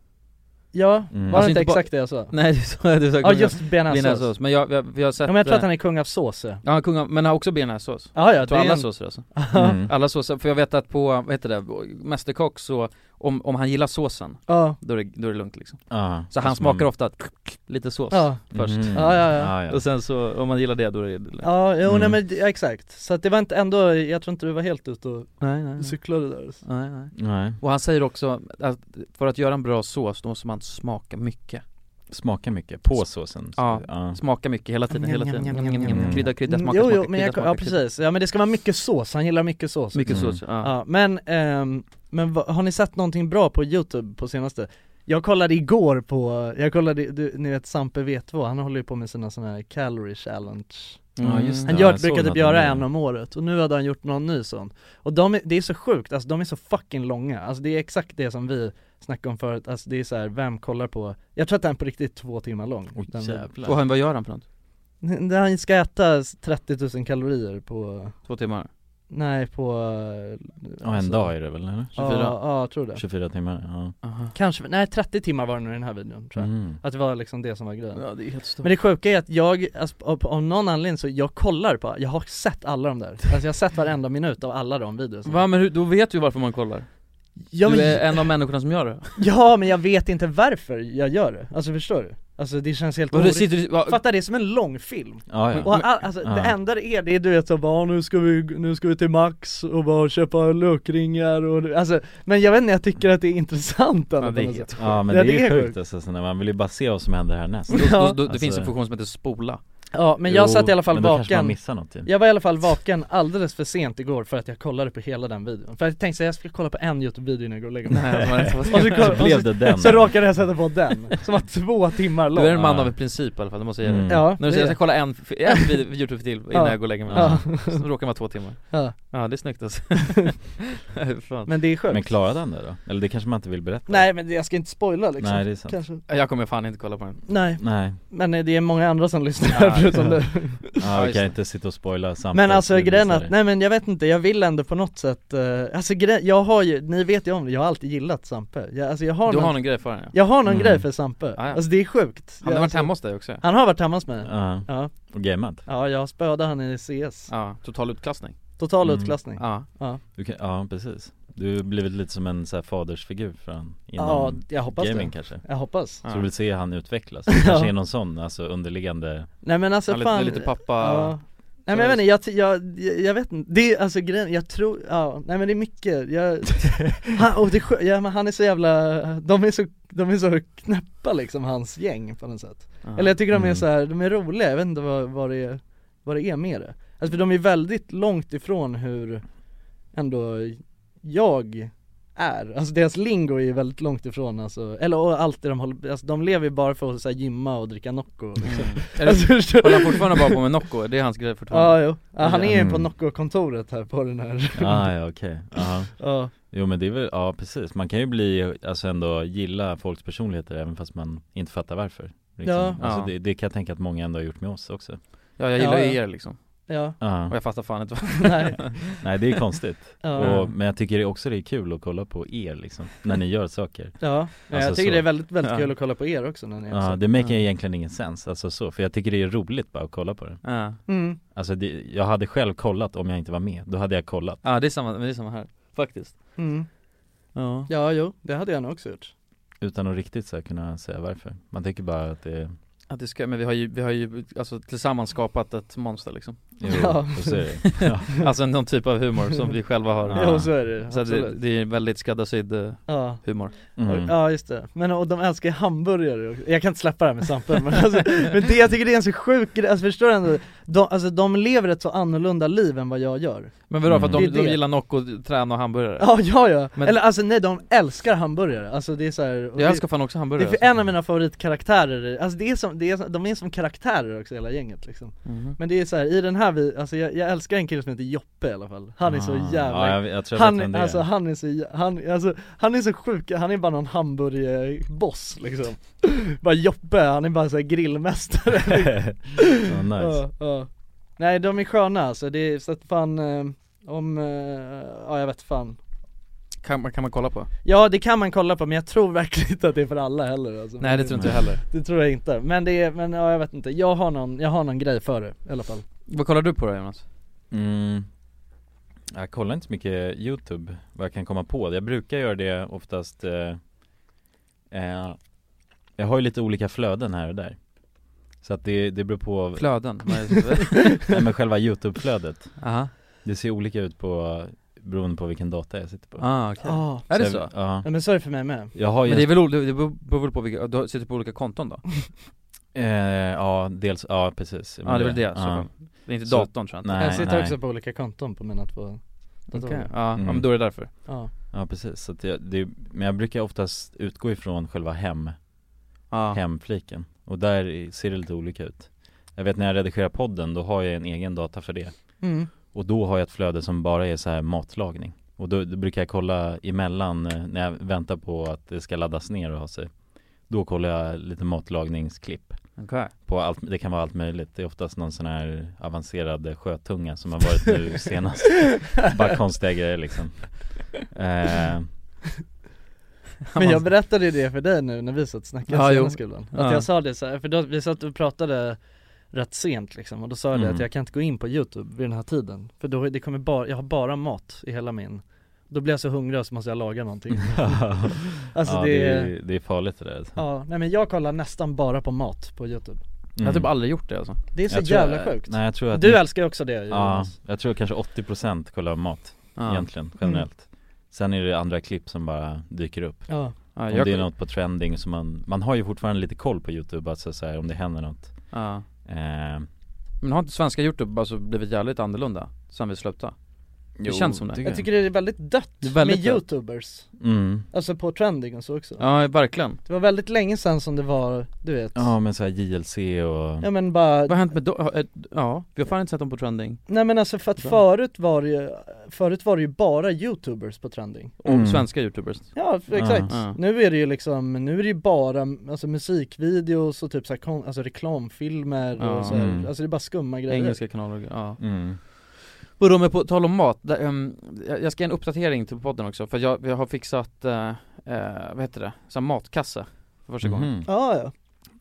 E: Ja,
A: Mm.
E: var
D: Alltså
E: det inte
D: inte bara-
E: exakt det jag sa?
D: Nej du sa, du sa
E: Ja just bearnaisesås
D: bearnaisesås, men jag, jag, jag har
E: Ja
D: sett
E: men jag tror att
D: eh,
E: han är kung av sås ja.
D: Ja, kung av, men han har också bearnaisesås
E: Ja ja,
D: Jag
E: det
D: tror
E: är
D: alla
E: en...
D: såser alltså
A: mm.
D: Alla såser, för jag vet att på, vad heter det, Mästerkock så, om, om han gillar såsen,
E: Ja,
D: då är det, då är det lugnt liksom
A: ja.
D: Så han
A: Fast
D: smakar
A: man-
D: ofta att, lite sås
E: ja,
D: först
A: Mhm.
E: Ja, ja, ja.
D: Och sen så, om man gillar det då är det lugnt
E: ja, jo, nej
A: Mm.
E: men det- ja, exakt. Så att det var inte ändå, jag tror inte du var helt ute och
D: Nej
E: Mm.
D: nej nej.
E: cyklade där
D: nej nej
A: Nej,
D: Och han säger också att för att göra en bra sås, då måste man smaka mycket
A: smakar mycket på såsen
D: Ja.
A: ja.
D: Smaka mycket hela tiden, hela tiden
E: Mm.
D: Mm. Krydda, krydda, smaka,
E: jo, jo,
D: smaka,
E: men
D: krydda,
E: jag,
D: smaka,
E: ja
D: krydda.
E: precis, ja men det ska vara mycket sås, han gillar mycket sås
D: Mycket
A: Mm.
D: sås, ja.
E: Ja, men, ehm, men vad- har ni sett någonting bra på youtube på senaste? Jag kollade igår på, jag kollade, du, ni vet Sampe V2, han håller ju på med sina sådana här calorie challenge
A: Ja, just
E: Han
A: det.
E: gör,
A: jag såg
E: brukar typ
A: något
E: göra
A: om
E: en
A: det.
E: om året och nu hade han gjort någon ny sån Och de, är- det är så sjukt, alltså de är så fucking långa, alltså det är exakt det som vi snackade om förut, alltså det är så här, vem kollar på Jag tror att den på riktigt är två timmar lång
A: Oj,
E: den,
D: Och
A: jävlar
D: han, vad gör han för något?
E: Där han ska äta 30 000 kalorier på,
D: Två timmar?
E: Nej på... eh,
A: Ja, en
E: alltså-
A: dag är det väl eller?
E: Ja,
D: 24.
E: ja, jag tror det
A: 24 timmar, ja.
E: Kanske, nej 30 timmar var det nu i den här videon tror jag
A: Mm.
E: Att det var liksom det som var grejen
D: det är helt stort.
E: Men det sjuka är att jag, alltså, av- av någon anledning så, jag kollar på, jag har sett alla de där Alltså jag har sett varenda minut av alla de videos
D: Va men hur, då vet du varför man kollar?
E: ja,
D: du
E: men,
D: är en av människorna som gör det
E: ja men jag vet inte varför jag gör det, alltså förstår du? Alltså det känns helt
D: Och du
E: orimligt
D: sitter du- va-
E: Fatta det är som en lång film
A: Ja, ja.
E: och all, alltså,
A: ja.
E: det enda det är, det är du vet så bara, nu ska vi, nu ska vi till Max och bara köpa lökringar och alltså, Men jag vet inte, jag tycker att det är intressant annat än så.
A: Ja men
E: Ja,
A: det
E: det
A: är
E: är
A: sjukt,
E: sjukt.
A: alltså, så när man vill ju bara se vad som händer härnäst
D: Då, då, då, det
A: Alltså-
D: finns en funktion som heter spola
E: Ja men jag
A: Jo,
E: satt i alla fall
A: men då kanske man
E: vaken
A: missar något ju.
E: Jag var i alla fall vaken alldeles för sent igår för att jag kollade på hela den videon För jag tänkte så här, jag ska kolla på en Youtube-video innan jag går och lägger mig Och så,
A: Så blev det den
E: och så råkade jag sätta på den, som var två timmar
D: Du är en
E: lång
D: man
A: Ja.
D: av en princip i alla fall, det måste jag säga
A: Mm.
D: det
E: Ja,
D: När du
E: det
D: säger
E: är
D: jag ska kolla en, en vid- Youtube till innan
E: Ja.
D: jag går och lägger mig
E: Ja.
D: Så råkar det vara två timmar
E: Ja.
D: Ja det är snyggt alltså Fan.
E: Men det är skönt
A: Men klarade han det då? Eller det kanske man inte vill berätta?
E: Nej men jag ska inte spoila liksom
A: Nej, det är sant.
E: Kanske.
D: Jag kommer fan inte kolla på den
E: Nej,
A: Nej,
E: men eh, det är många andra som lyssnar
D: Ja,
E: förutom
A: ja.
E: du
A: ja, Ah, vi
D: just det.
A: kan inte sitta och spoila samtidigt
E: Men alltså grejen att, nej men jag vet inte, jag vill ändå på något sätt, eh, alltså gre- jag har ju, ni vet ju om det, jag har alltid gillat Sampe jag, Alltså jag har,
D: Du
E: någon,
D: har någon grej för den ja.
E: jag har någon
A: Mm.
E: grej för Sampe,
D: Ja, ja.
E: alltså det är sjukt
D: Han har
E: Jag-
D: varit hemma hos dig också ja.
E: Han har varit hemma hos mig
A: Ja,
E: Ja,
A: och gamead
E: ja jag spöade han i CS
D: Ja, total utklassning
E: Total
A: Mm.
E: utklassning
D: Ja,
A: du kan, Ja, precis Du har blivit lite som en så här, fadersfigur för han inom
E: Ja, jag hoppas
A: gaming
E: det
A: kanske
E: Jag hoppas
A: Så
D: ja.
A: du vill se han utvecklas? Det kanske är någon sån, alltså underliggande
E: Nej men alltså
D: Han är
E: fan
D: lite, lite pappa
E: ja. Nej men jag vet inte, jag, ty- jag, jag, jag vet inte, det är alltså grejen, jag tror, ja, nej men det är mycket, jag, han, och det, är skö- ja, men han är så jävla, de är så, de är så knäppa liksom hans gäng på något sätt
D: Ja.
E: Eller jag tycker de är
A: Mm.
E: så här, de är roliga, jag vet inte vad, vad, det, är, vad det är med det Alltså för de är väldigt långt ifrån hur ändå jag är, alltså deras lingo är ju väldigt långt ifrån alltså, eller och allt det de håller, alltså de lever ju bara för att så här, gymma och dricka Nocco liksom.
D: Är det-
E: alltså, förstår du?
D: Håller han Mm. fortfarande bara på med Nocco? Det är hans grej fortfarande?
E: Ja, jo. Ja, han är ju på
A: Mm.
E: Nocco-kontoret här på den här
A: Ah, ja okej, ja
E: Ja,
A: Jo men det är väl, ja precis, man kan ju bli, alltså ändå gilla folks personligheter även fast man inte fattar varför liksom.
E: Ja.
A: Alltså
D: Ja.
A: det, det kan jag tänka att många ändå har gjort med oss också
D: Ja, jag gillar ju
E: Ja, ja.
D: er liksom
E: ja,
A: Ja,
D: Och jag fattar fan inte vad
E: nej,
A: nej det är konstigt
E: ja,
A: och, Men jag tycker det också det är kul att kolla på er liksom, när ni gör saker
E: ja. Nej, jag
A: Alltså,
E: tycker
A: så.
E: det är väldigt, väldigt
D: Ja.
E: kul att kolla på er också när ni är
A: Ja,
E: så.
A: det maker egentligen ingen sens, alltså så, för jag tycker det är roligt bara att kolla på det
D: Ja,
E: Mm.
A: Alltså det, jag hade själv kollat om jag inte var med, då hade jag kollat
D: ja det, är samma, men det är samma här, faktiskt
E: Mm.
D: Ja
E: Ja, jo, det hade jag nog också gjort
A: Utan att riktigt så här, kunna säga varför Man tycker bara att det,
D: Att det ska, men vi har ju, vi har ju alltså,
A: Mm.
D: tillsammans skapat ett monster liksom
A: jo,
E: Ja.
A: och så är det ja.
D: Alltså någon typ av humor som vi själva har
A: Ja.
E: Jo, så är det
D: Så att det,
E: absolut
D: det är en väldigt skräddarsydd eh,
E: Ja,
D: humor
A: Mm.
E: ja just det. Men och de älskar ju hamburgare också. Jag kan inte släppa det här med Sampe men alltså, men det, jag tycker det är en så sjuk grej, alltså förstår du ändå? De, alltså de lever ett så annorlunda liv än vad jag gör
D: Men vadå, för att de,
E: Mm. Det är
D: de
E: det.
D: gillar Nocco, träna och hamburgare?
E: Ja, ja, ja.
D: Men-
E: Eller alltså nej, de älskar hamburgare, alltså det är så här, och
D: Jag
E: det-
D: älskar fan också
E: Det är
D: hamburgare alltså.
E: för en av mina favoritkaraktärer, i- alltså det är som, det är som, de är som karaktärer också hela gänget liksom
D: alltså. Mhm.
E: Men det är så här, i den här, vi, alltså jag, jag älskar en kille som heter Joppe i alla fall Han är så
A: Ah.
E: jävla
A: ja, jag, jag tror jag vet vem
E: han,
A: det är.
E: alltså, han är så, jä- han, alltså, han är så sjuk, han är bara någon hamburgerboss liksom Bara Joppe, han är bara så här grillmästare
A: Ja, nice.
E: liksom. Ja, ja. Nej de är sköna alltså, det är så att fan, eh, om, eh, ja jag vet fan
D: kan, man- kan man kolla på?
E: Ja det kan man kolla på men jag tror verkligen inte att det är för alla heller alltså.
D: Nej det tror inte jag heller
E: Det tror jag inte, men det är, men ja, jag vet inte, jag har någon, jag har någon grej för det i alla fall
D: Vad kollar du på då Jonas?
A: Mm. Jag kollar inte så mycket youtube, vad jag kan komma på Jag brukar göra det oftast eh, eh, Jag har ju lite olika flöden här och där Så att det, det beror på,
D: Flöden?
A: nej, men själva youtube-flödet
D: Aha,
A: Det ser olika ut på, beroende på vilken data jag sitter på
D: ah, okej
E: Ja,
D: Är det
A: jag-
D: så?
A: Ja,
E: ja men så är det för mig med
A: jag har ju
D: Men det är väl, o- det beror- beror väl på vilka, du sitter på olika konton då?
A: eh, ja dels, ja precis
D: Ja det är väl det, så
A: ja.
D: kom. Det är inte
A: Så-
D: datorn tror jag inte
A: Nej,
E: Jag sitter
A: nej.
E: också på olika konton på mina två
D: Okej,
E: datorer
D: ja,
A: Mm.
D: ja men då är det därför
E: ja.
A: ja precis, så att jag, det, men jag brukar oftast utgå ifrån själva hem
D: Ja,
A: hemfliken och där i- ser det lite olika ut Jag vet när jag redigerar podden, då har jag en egen data för det
E: Mm.
A: och då har jag ett flöde som bara är så här matlagning och då, då brukar jag kolla emellan eh, när jag väntar på att det ska laddas ner och ha sig Då kollar jag lite matlagningsklipp
D: ja. Okej.
A: på allt, det kan vara allt möjligt. Det är oftast någon sån här avancerad sjötunga som har varit nu senast. Bara konstiga grejer liksom. Eh,
E: Men jag berättade ju det för dig nu när vi satt och snackade
D: Ja, jo.
E: senast Gulan Att
D: Ja.
E: jag sa det så här, för då, vi satt och pratade rätt sent liksom och då sa jag det
A: Mm.
E: att jag kan inte gå in på youtube vid den här tiden För då, det kommer bara, jag har bara mat i hela min Då blir jag så hungrig och så måste jag laga någonting Alltså
A: ja,
E: det,
A: det,
E: är,
A: är, det är farligt det där. alltså.
E: ja nej men jag kollar nästan bara på mat på youtube
D: Jag har
A: Mm.
D: typ aldrig gjort det alltså
E: Det är så
A: Jag tror-
E: jävla sjukt
A: Nej jag tror att
E: Du
A: ni-
E: älskar ju också det
A: Ja,
E: Jonas Mm.
A: jag tror kanske 80% kollar mat
D: Ja,
A: egentligen, generellt Sen är det andra klipp som bara dyker upp
E: Ja,
D: ja
A: Om
D: jag,
A: det är något på trending som man, man har ju fortfarande lite koll på youtube, alltså så här, om det händer något
D: ja.
A: eh,
D: Men har inte svenska youtube alltså blivit jävligt annorlunda sen vi slutade?
A: jo,
D: känns som det.
A: tycker
E: Jag tycker det är väldigt dött
D: Det är väldigt
E: med
D: dött.
E: youtubers
A: mm.
E: Alltså på trending och så också
D: Ja, verkligen
E: Det var väldigt länge sedan som det var, du vet
A: Ja men så här JLC och,
E: Ja men bara,
D: Vad har hänt med do- har- eh, Ja, vi har fan inte sett dem på trending
E: nej men alltså för att
D: Bra.
E: förut var det ju, förut var det ju bara youtubers på trending
D: Och
A: Mm.
D: svenska youtubers
E: Ja exakt,
D: Ja.
E: nu är det ju liksom, nu är det ju bara alltså musikvideos och typ så här, kon- alltså reklamfilmer
D: Ja.
E: och så här,
A: Mm.
E: alltså det är bara skumma grejer
D: Engelska kanaler, och grejer. ja
A: mm.
D: Vadå men på tal om mat, där, ehm, jag jag ska ge en uppdatering till podden också för jag, jag har fixat, eh, eh, vad heter det, sån här matkasse för första gången
A: Mhm.
E: Ja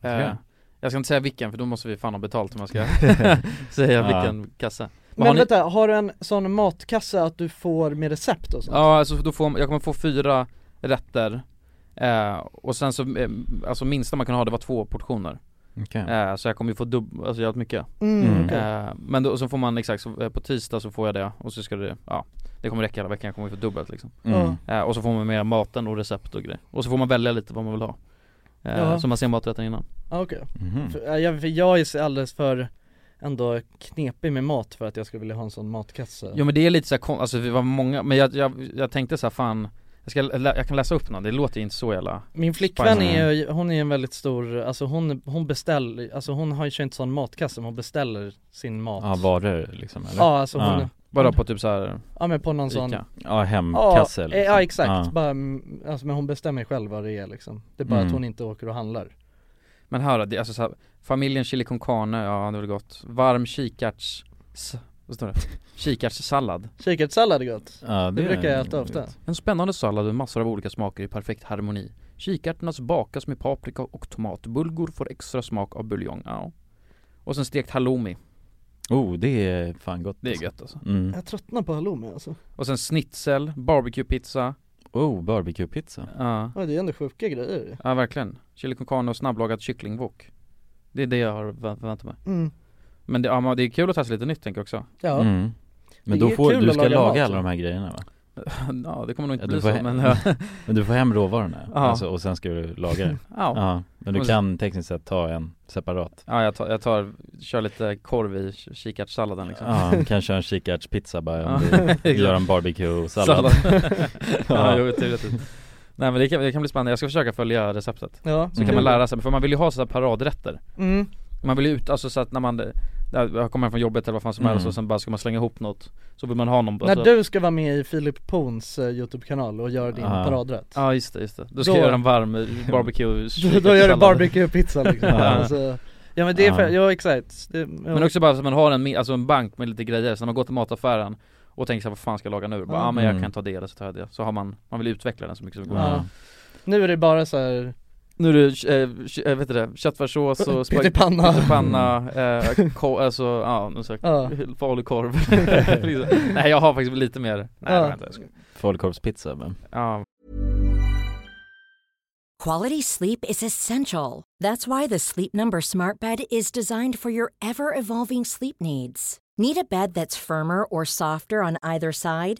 E: ja,
D: eh,
A: Ja.
D: Jag ska inte säga vilken för då måste vi fan ha betalt om jag ska säga
A: Ja.
D: vilken kasse
E: men
D: har ni-
E: vänta, har du en sån matkasse att du får med recept och sånt?
D: Ja alltså då får, jag kommer få fyra rätter eh, och sen så, eh, alltså minsta man kan ha det var två portioner
A: Okej.
D: eh, Så jag kommer ju få dubb, alltså jävligt mycket
E: Mm,
A: Mm.
E: okej.
D: eh, Men då, och så får man exakt, så, eh, på tisdag så får jag det och så ska det, ja Det kommer räcka hela veckan, jag kommer ju få dubbelt liksom
A: mm.
D: Eh, och så får man med maten och recept och grejer. Och så får man välja lite vad man vill ha. Eh,
E: Ja.
D: Så man ser maträtten innan.
E: Ja, okej.
A: Mhm.
E: För, äh, jag, för jag är så alldeles för ändå knepig med mat för att jag skulle vilja ha en sån matkasse
D: Jo men det är lite såhär alltså vi var många, men jag, jag, jag tänkte såhär fan jag, ska, lä- jag kan läsa upp någon, det låter ju inte så jävla
E: Min flickvän
D: Spicy.
E: är ju, hon är en väldigt stor, alltså hon, hon beställer, alltså hon har ju kört en sån matkasse men hon beställer sin mat
A: Ja varor liksom eller?
E: Ja, alltså hon,
A: Ja.
E: ja.
D: Bara på typ såhär
E: men på någon sån
D: Ica
A: Ja,
E: Ja,
A: hemkasse
E: eh, ja exakt,
A: liksom. Ja.
E: bara, mm, alltså, men hon bestämmer själv vad det är liksom Det är bara
A: Mm.
E: att hon inte åker och handlar
D: Men här då, det, är alltså såhär, familjen chili con carne, ja det var gott Varm kikärts, s- vad står det? Kikärtssallad
E: Kikärtssallad är gott,
A: Ja,
E: det, brukar jag äta ofta
D: En spännande sallad med massor av olika smaker i perfekt harmoni Kikärtorna bakas med paprika och tomat Bulgur får extra smak av buljong, ja Och sen stekt halloumi
A: Oh det är fan gott
D: Det är gött alltså
A: mm.
E: Jag tröttnar på halloumi alltså,
D: Och sen schnitzel, barbecuepizza
A: Oh barbecuepizza
D: Ja,
E: ja, det är ändå sjuka grejer
D: ja verkligen Chili con carne och snabblagad kycklingwok Det är det jag har vä- väntat mig
E: mm.
D: Men det, ja, men det är kul att testa lite nytt tänker jag också
E: Ja,
A: mm. Men
E: Det är
A: då
E: ju
A: får,
E: kul
A: du
E: att
A: ska
E: laga
A: laga
E: mat,
A: alla
E: va?
A: de här grejerna va?
D: Ja det kommer nog inte
A: Ja,
D: bli
A: du
D: så
A: får he-
D: men ja,
A: Men du får hem råvarorna
D: Ja.
A: alltså, och sen ska du laga det?
D: ja.
A: Ja, men du
D: Och sen-
A: kan tekniskt sett ta en separat
D: ja jag, tar, jag tar, kör lite korv i k- kikärtssalladen liksom
A: Ja, du kan köra en kikärtspizza bara om
D: Ja,
A: du
D: exakt.
A: gör en barbecue-sallad
D: Sallad. ja,
A: Ja.
D: jo, det är rätt. Nej men det kan, det kan bli spännande, jag ska försöka följa receptet
E: ja.
D: Så kan man lära sig, för man vill ju ha sådana paradrätter
E: mm.
D: Man vill ju ut, alltså så att när man, där, jag kommer hem från jobbet eller vad fan som
A: Mm.
D: helst och sen bara ska man slänga ihop något Så vill man ha någon alltså.
E: När du ska vara med i Filip Pons eh, YouTube-kanal och göra din
A: Ja.
E: paradrätt
D: Ja just det, just det. Då ska
E: Då-
D: jag göra en varm eh, barbecue
E: Då, då gör du barbecue-pizza liksom
A: Ja.
E: alltså, Ja men det är för,
A: Ja.
E: ja exakt det, ja.
D: Men också bara så att man har en, mi- alltså en bank med lite grejer, så när man går till mataffären och tänker såhär, vad fan ska jag laga nu? Bara,
E: Ja.
D: ja ah, men jag
A: Mm.
D: kan ta det eller så tar jag det. Så har man, man vill utveckla den så mycket som möjligt.
A: Ja.
E: Ja. Nu är det bara så här,
D: Nu är det, eh, eh, vet du det, köttfärssås och spak-
E: Pyttipanna.
D: pyttipanna, Alltså eh, ko- alltså ja, någon slags
E: ja,
D: falukorv liksom. Nej jag har faktiskt lite mer, nej
E: Ja.
D: vänta jag ska,
A: Falukorvspizza va?
D: ja
F: Quality sleep is essential. That's why the Sleep Number Smart Bed is designed for your ever evolving sleep needs. Need a bed that's firmer or softer on either side?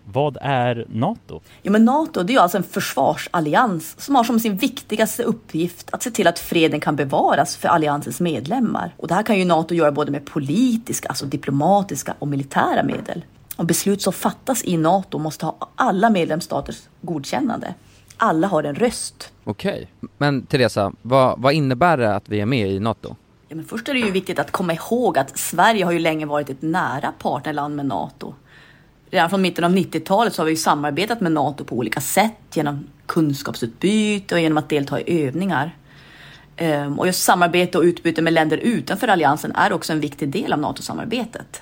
A: Vad är NATO?
G: Jo, men NATO det är ju alltså en försvarsallians som har som sin viktigaste uppgift att se till att freden kan bevaras för alliansens medlemmar. Och det här kan ju NATO göra både med politiska, alltså diplomatiska och militära medel. Och beslut som fattas i NATO måste ha alla medlemsstaters godkännande. Alla har en röst.
D: Okej. Men Teresa, vad, vad innebär det att vi är med i NATO?
G: Ja, men först är det ju viktigt att komma ihåg att Sverige har ju länge varit ett nära partnerland med NATO. Redan från mitten av 90-talet så har vi ju samarbetat med NATO på olika sätt genom kunskapsutbyte och genom att delta i övningar. Ehm, Och just samarbete och utbyte med länder utanför alliansen är också en viktig del av NATO-samarbetet.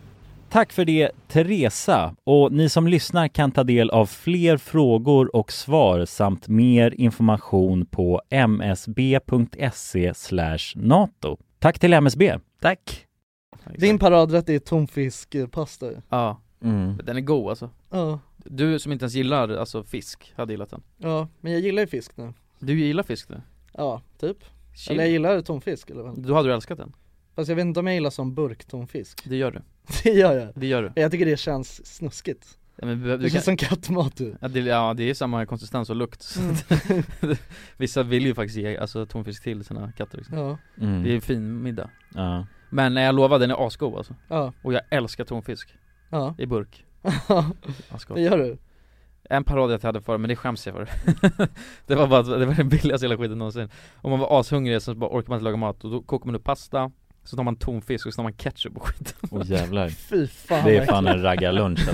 A: Tack för det Teresa och ni som lyssnar kan ta del av fler frågor och svar samt mer information på msb.se E NATO. Tack till MSB.
D: Tack.
E: Din paradrätt är tonfiskpasta ju.
D: Ja.
A: Mm.
D: Den är god alltså.
E: Ja.
D: Du som inte ens gillar alltså fisk, hade gillat den.
E: Ja, men jag gillar ju fisk nu.
D: Du gillar fisk nu?
E: Ja, typ.
D: Shit.
E: Eller jag gillar tonfisk eller vad?
D: Då hade du älskat den.
E: Fast jag vet inte om jag gillar som burktonfisk.
D: Det gör du.
E: Det gör jag.
D: Det gör du.
E: Jag tycker det känns snuskigt.
D: Ja, men du,
E: Det känns som kattmat du.
D: Ja det, ja det är samma konsistens och lukt så
E: Mm.
D: att- Vissa vill ju faktiskt ge alltså, tonfisk till sina katter liksom.
E: Ja.
A: Mm.
D: Det är en fin middag
A: Ja.
D: Men nej, jag lovar, den är asgod alltså
E: Ja.
D: Och jag älskar tonfisk
E: Ja.
D: I burk
E: Ja.
D: Asgod.
E: Det gör du.
D: En parad jag hade för men det skäms jag för Det var bara, det var den billigaste hela skiten någonsin Om man var ashungrig så bara orkar man inte laga mat och då kokar man upp pasta Så tar man tonfisk och så tar man ketchup och skit
A: Åh jävlar.
E: Fy fan
A: Det är fan
E: verkligen.
A: en raggarlunch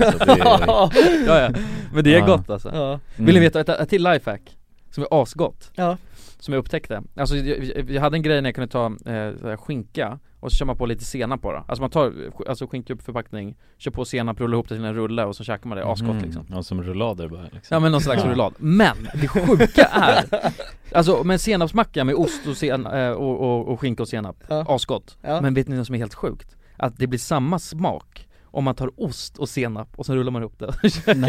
A: alltså. Det är... Mm.
D: ja, ja. Men det är
A: Ja.
D: gott alltså
E: Ja.
D: Vill ni veta ett, ett till lifehack? Som är asgott
E: Ja.
D: Som jag upptäckte Alltså jag, jag hade en grej när jag kunde ta eh, så här, skinka Och så kör man på lite senap bara Alltså man tar sk- alltså, skinka upp förpackning Kör på senap, rullar ihop det till en rulle och så käkar man det asgott
A: Mm.
D: liksom
A: Ja, som rullader bara. Liksom.
D: Ja men någon slags
A: Ja.
D: rullad Men det sjuka är Alltså men senapsmacka med ost och, sen, eh, och, och, och skinka och senap
E: Ja.
D: Asgott
E: Ja.
D: Men vet ni vad som är helt sjukt? Att det blir samma smak om man tar ost och senap och så rullar man ihop det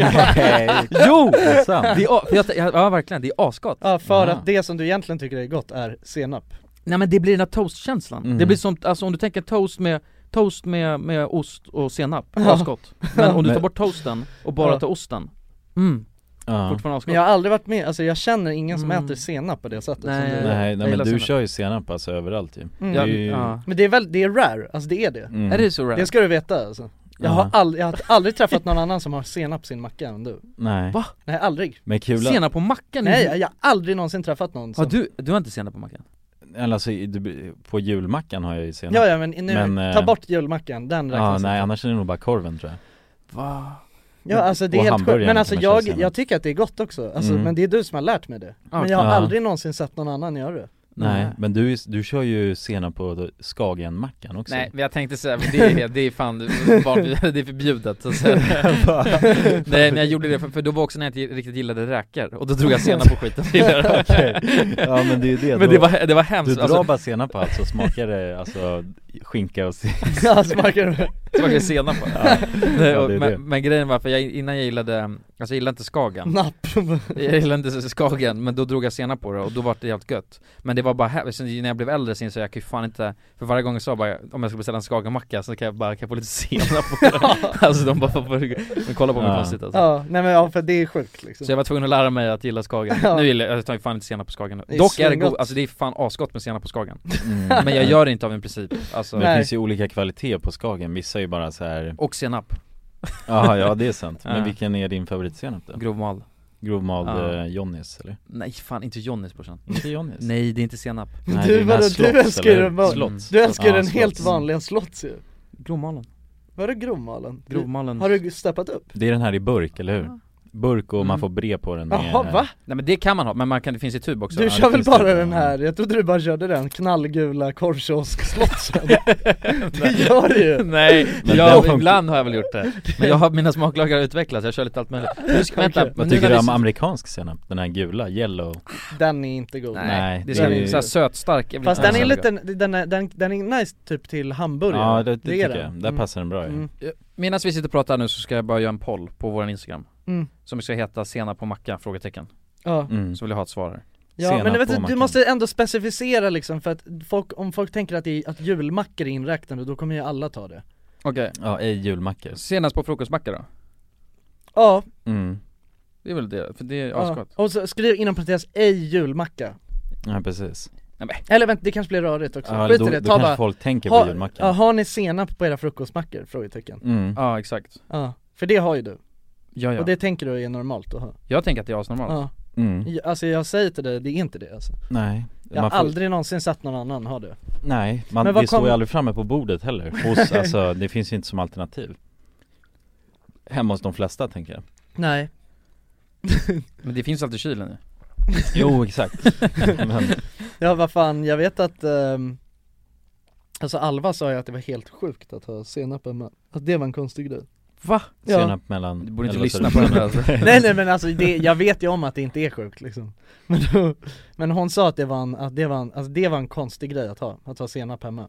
A: Nej.
D: Jo!
A: Det är sant.
D: Det är, a- för jag, jag- ja verkligen, det är asgott
E: Ja, för
A: Ja.
E: att det som du egentligen tycker är gott är senap.
D: Nej men det blir den här toastkänslan,
A: Mm.
D: det blir som, alltså om du tänker toast med Toast med, med ost och senap,
E: Ja.
D: asgott Men om du
A: Men-
D: tar bort toasten och bara
E: Ja.
D: tar osten, mm, Fortfarande avskott.
E: Men jag har aldrig varit med, alltså jag känner ingen som
D: Mm.
E: äter senap på det sättet som
D: Nej.
E: du gör.
A: Nej,
D: gillar
A: nej men du
D: senap.
A: kör ju senap alltså överallt ju.
E: Mm.
A: Det är ju...
E: Men det är väl, det är rare, alltså det är det
A: Mm. Är det så rare?
E: Det ska du veta alltså jag har,
A: Ja.
E: all, jag har aldrig träffat någon annan som har senap i sin macka än du
A: Nej. Va?
E: Nej aldrig
A: Men kul att- Senap
D: på mackan?
E: Nej jag, jag har aldrig någonsin träffat någon som
D: Har du, du har inte senap på mackan?
A: Eller alltså, i- du- på julmackan har jag ju senap
E: Ja ja men nu, ta
A: eh,
E: bort julmackan, den
A: Ja
E: räknas
A: nej annars är det nog bara korven tror jag
D: Va?
E: Ja alltså det är
A: Och
E: helt sjukt,
A: hamburgaren
E: men alltså
A: kan man köra
E: jag,
A: senap.
E: jag tycker att det är gott också, alltså,
A: Mm.
E: men det är du som har lärt mig det Men jag har
A: Ja.
E: aldrig någonsin sett någon annan göra det
A: Nej, men du, är- du kör ju senap på Skagenmackan också
D: Nej men jag tänkte säga, men det är, det är fan, barn- det är förbjudet så att säga. Nej men jag gjorde det för, för då var också när jag inte riktigt gillade räkor och då drog jag senap på skiten
A: Okej. Ja men det är ju det
D: Men
A: Då-
D: det var, det var
E: alltså,
D: hemskt alltså,
A: Du drar bara senap på allt så smakar det alltså skinka och senap
E: Ja smakar det
D: Smakar det senap på?
A: Ja,
D: Nej,
A: ja
D: och-
A: det är det
D: men, men grejen var för jag, innan jag gillade, alltså jag gillade inte Skagen
E: Napp
D: Jag gillade inte Skagen, men då drog jag senap på det och då var det jävligt gött Men det var bara här, sen när jag blev äldre så insåg jag, jag kan ju fan inte För varje gång jag sa bara, om jag ska beställa en Skagenmacka så kan jag bara, kan jag få lite senap på det? alltså de bara, de kollar på mig
E: Ja.
D: konstigt alltså.
E: Ja, nej men ja för det är sjukt liksom
D: Så jag var tvungen att lära mig att gilla Skagen,
E: Ja.
D: nu gillar jag, jag tar ju fan inte senap på Skagen
E: Det är
D: Dock är det
E: svingott.
D: god, alltså det är fan asgott med senap på Skagen
A: Mm.
D: Men jag gör det inte av en princip, alltså
A: Men det finns ju olika kvaliteter på Skagen, vissa är ju bara så här
D: Och senap
A: Ja, ja det är sant. Men
D: Ja.
A: vilken är din favoritsenap då?
D: Grovmal
A: Grovmal
D: Ja.
A: ja. Johnny's eller?
D: Nej fan inte Johnny's brorsan
A: Inte Johnny's?
D: Nej det är inte senap
A: Nej, det
E: Du
A: är den här
E: vadå, du
A: Slotts,
E: älskar ju
A: eller?
E: den bara,
A: Slotts.
E: du älskar ju
A: Ja,
E: den
A: Slotts.
E: helt vanliga slotts ju
D: Grovmalen
E: Vadå grovmalen? Du-
D: Grovmalen.
E: Har du steppat upp?
A: Det är den här i burk, eller hur? Burk och man får bre på den med-
E: Mm. Jaha, va?
D: Nej men det kan man ha, men man kan, det finns i tub också
E: Du
D: Ja,
E: kör
D: det
E: väl
D: finns
E: bara
D: tub.
E: den här, jag trodde du bara körde den knallgula korvkiosk-slotsen Det gör du ju!
D: Nej,
A: Men
D: jag,
A: den-
D: ibland har jag väl gjort det Men jag har, mina smaklagar har utvecklats, jag kör lite allt möjligt Nu ska, vänta, men
A: Vad
D: nu
A: tycker
D: när
A: du
D: vi
A: om
D: sitter-
A: amerikansk senap? Den här gula, yellow?
E: Den är inte god
A: Nej, Nej,
D: Det
A: det
D: ska
A: är
D: bli
A: ju-
D: såhär sötstark jag vill
E: Fast
D: inte
E: den är
D: ha
E: lite, den är, den, den är nice typ till hamburgare
A: Ja det, det,
E: är
A: tycker jag,
E: den.
A: där
E: Mm.
A: passar den bra ju
E: Mm.
D: Medan vi sitter och pratar nu så ska jag bara göra en poll på våran instagram
E: Mm.
D: Som ska heta senap på macka? Frågetecken
E: Ja.
A: Mm.
D: Så vill jag ha ett svar här
E: Ja men vet du, du måste ändå specificera liksom för att folk, om folk tänker att, det är, att julmackor är inräknade då kommer ju alla ta det
D: Okej
A: Ja, ej julmackor
D: Senast på frukostmacka då?
E: Ja,
A: mm.
D: Det är väl det, för det är
E: ja.
D: asgott
E: och så skriv inom parentes ej julmacka
A: Ja precis
E: Eller vänta, det kanske blir rörigt också,
A: Ja,
E: skit
A: då-
E: i det,
A: då
E: ta
A: kanske
E: bara
A: folk tänker
E: ha,
A: på julmackan.
E: ja, har ni senap på era frukostmackor? Frågetecken
A: Mm.
D: Ja exakt
E: Ja, för det har ju du
D: Ja, ja.
E: Och det tänker du är normalt att ha
D: Jag tänker att det är asnormalt
E: Ja
A: Mm.
E: Ja, Alltså jag säger till dig, det är inte det alltså
A: Nej
E: Jag har
A: Man får-
E: aldrig någonsin sett någon annan ha det
A: Nej, man,
E: Men
A: det
E: vad
A: står
E: kom-
A: ju aldrig framme på bordet heller hos, alltså, det finns ju inte som alternativ Hemma hos de flesta tänker jag
E: Nej
D: Men det finns alltid i kylen nu
A: Jo exakt Men,
E: Ja vad fan, jag vet att ehm, Alltså Alva sa ju att det var helt sjukt att ha senap hemma, att det var en konstig grej
D: Va?
E: Ja.
A: Senap mellan
D: Du borde inte
A: eller vad
D: lyssna
A: sa
D: på den där alltså.
E: Nej nej men alltså det, jag vet ju om att det inte är sjukt liksom Men, då, men hon sa att det var en, att det var en, alltså det var en konstig grej att ha, att ha senap hemma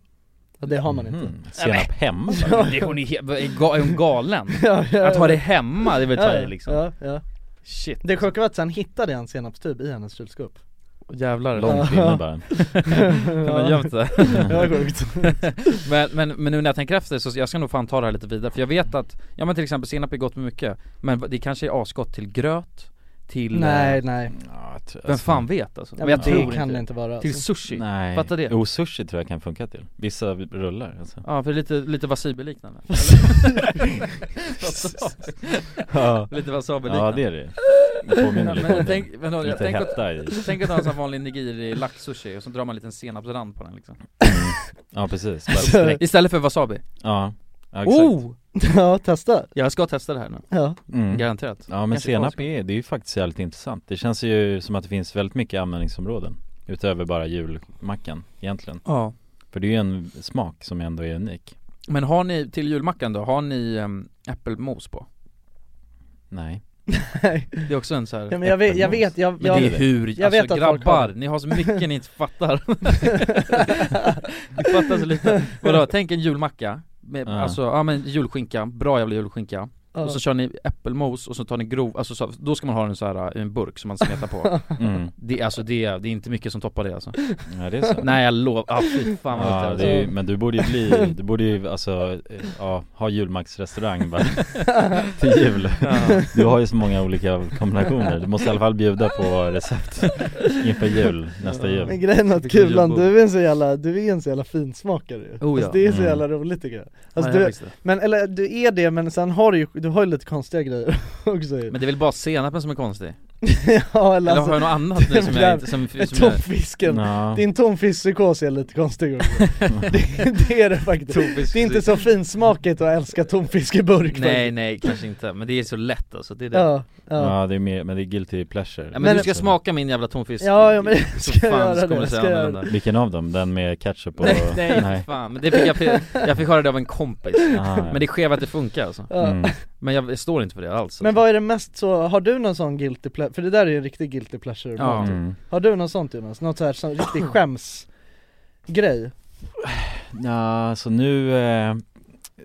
E: Och det har man inte
A: Mhm. Senap hemma?
D: Det, hon är, he- är ga- är hon galen?
E: Ja, ja,
D: Att ha
E: ja.
D: det hemma, det är väl att ta
E: Ja,
D: i liksom
E: Ja, ja
D: Shit
E: Det sjuka var att sen hittade jag en senapstub i hennes kylskåp
D: Jävlar
A: Långt inne bara
D: Kan man gömt det?
E: Det var sjukt
D: men, men, men nu när jag tänker efter så jag ska nog fan ta det här lite vidare för jag vet att, ja men till exempel senap är gott med mycket Men det kanske är asgott till gröt, till... eh,
E: Nej nej,
A: Ja, jag tror-
D: Vem fan vet alltså?
E: ja,
D: men jag
E: men
D: tror
E: det
D: inte
E: kan
D: det.
E: det inte vara
D: Till
E: alltså.
D: sushi?
A: Nej,
D: Fattar det?
A: jo sushi tror jag kan funka till Vissa rullar alltså
D: Ja för lite, lite wasabi-liknande
A: Ja,
D: Lite wasabi-liknande
A: ja det är det Det påminner lite om
D: men
A: det.
D: tänk, men,
A: Lite
D: tänk, att,
A: hetta i
D: tänk att ha en sån vanlig nigiri laxsushi och så drar man en liten senapsrand på den liksom
A: Mm. Ja precis, bara sträck
D: Istället för wasabi
A: Ja, ja exakt
D: Oh!
E: Ja testa,
D: Jag ska testa det här nu,
E: ja
A: Mm.
D: garanterat
A: Ja men
D: Kanske
A: senap
D: asgott.
A: är, det är ju faktiskt jävligt intressant Det känns ju som att det finns väldigt mycket användningsområden Utöver bara julmackan egentligen
D: Ja
A: För det är ju en smak som ändå är unik
D: Men har ni, till julmackan då, har ni äm, äppelmos på?
A: Nej
D: Det är också en så här.
E: Ja, men jag vet, jag vet, jag,
D: Men det är
E: jag,
D: hur,
E: jag
D: alltså
E: vet att folk har
D: grabbar,
E: det.
D: ni har så mycket ni inte fattar Ni fattar så lite Vadå, tänk en julmacka med,
A: Ja.
D: Alltså, ja men julskinka, bra jävla julskinka
E: Ja.
D: Och så kör ni äppelmos och så tar ni grov, alltså så, då ska man ha den så här i en burk som man smetar på
A: Mm.
D: det, Alltså det, det är inte mycket som toppar det alltså
A: Nej det är så
D: Nej jag lovar, ah, fy fan vad gott
A: ja,
D: alltså.
A: det är ju, Men du borde ju bli, du borde ju alltså, eh, ja, ha julmacksrestaurang bara till jul
D: Ja.
A: Du har ju så många olika kombinationer, du måste i alla fall bjuda på recept inför jul, nästa jul
E: Men grejen är att Kulan, du är en så jävla, du är en så jävla finsmakare ju.
A: Oh, ja.
E: alltså, det är så
A: Mm.
E: jävla roligt tycker jag alltså,
D: Ja, jag
E: du,
D: visste det.
E: Men eller du är det men sen har du ju, du har ju lite konstiga grejer också ju
D: Men det är väl bara senapen som är konstig?
E: Ja alltså,
D: Eller har jag något annat nu som jag inte- som- som jag-
E: Tonfisken,
D: Ja.
E: din tonfiskpsykos är lite konstig också. det, det är det faktiskt
D: Tonfisk-
E: Det är inte så finsmakigt att älska tonfisk i burk
D: Nej
E: faktiskt.
D: nej kanske inte, men det är så lätt alltså, det är det
E: Ja, ja.
A: Ja det är mer, men det är guilty pleasure
D: Ja, men, du ska smaka min jävla tonfisk
E: Ja, ja, men jag
D: Så
E: ska
D: fan
E: göra
D: så
E: det,
D: kommer
E: jag
D: säga
E: ska göra
D: annorlunda.
A: Vilken av dem? Den med ketchup och...
D: Nej, nej, nej. fan, men det fick jag, jag fick höra det av en kompis
A: Ah, ja.
D: Men det är skev att det funkar alltså
E: Ja. Mm.
D: Men jag står inte för det alls alltså.
E: Men vad är det mest så, har du någon sån guilty pleasure? För det där är ju en riktig guilty pleasure
D: Ja.
E: mat.
D: Mm.
E: Har du någon sånt Jonas? Något så här, sån riktig skämsgrej?
A: Ja, så nu, eh,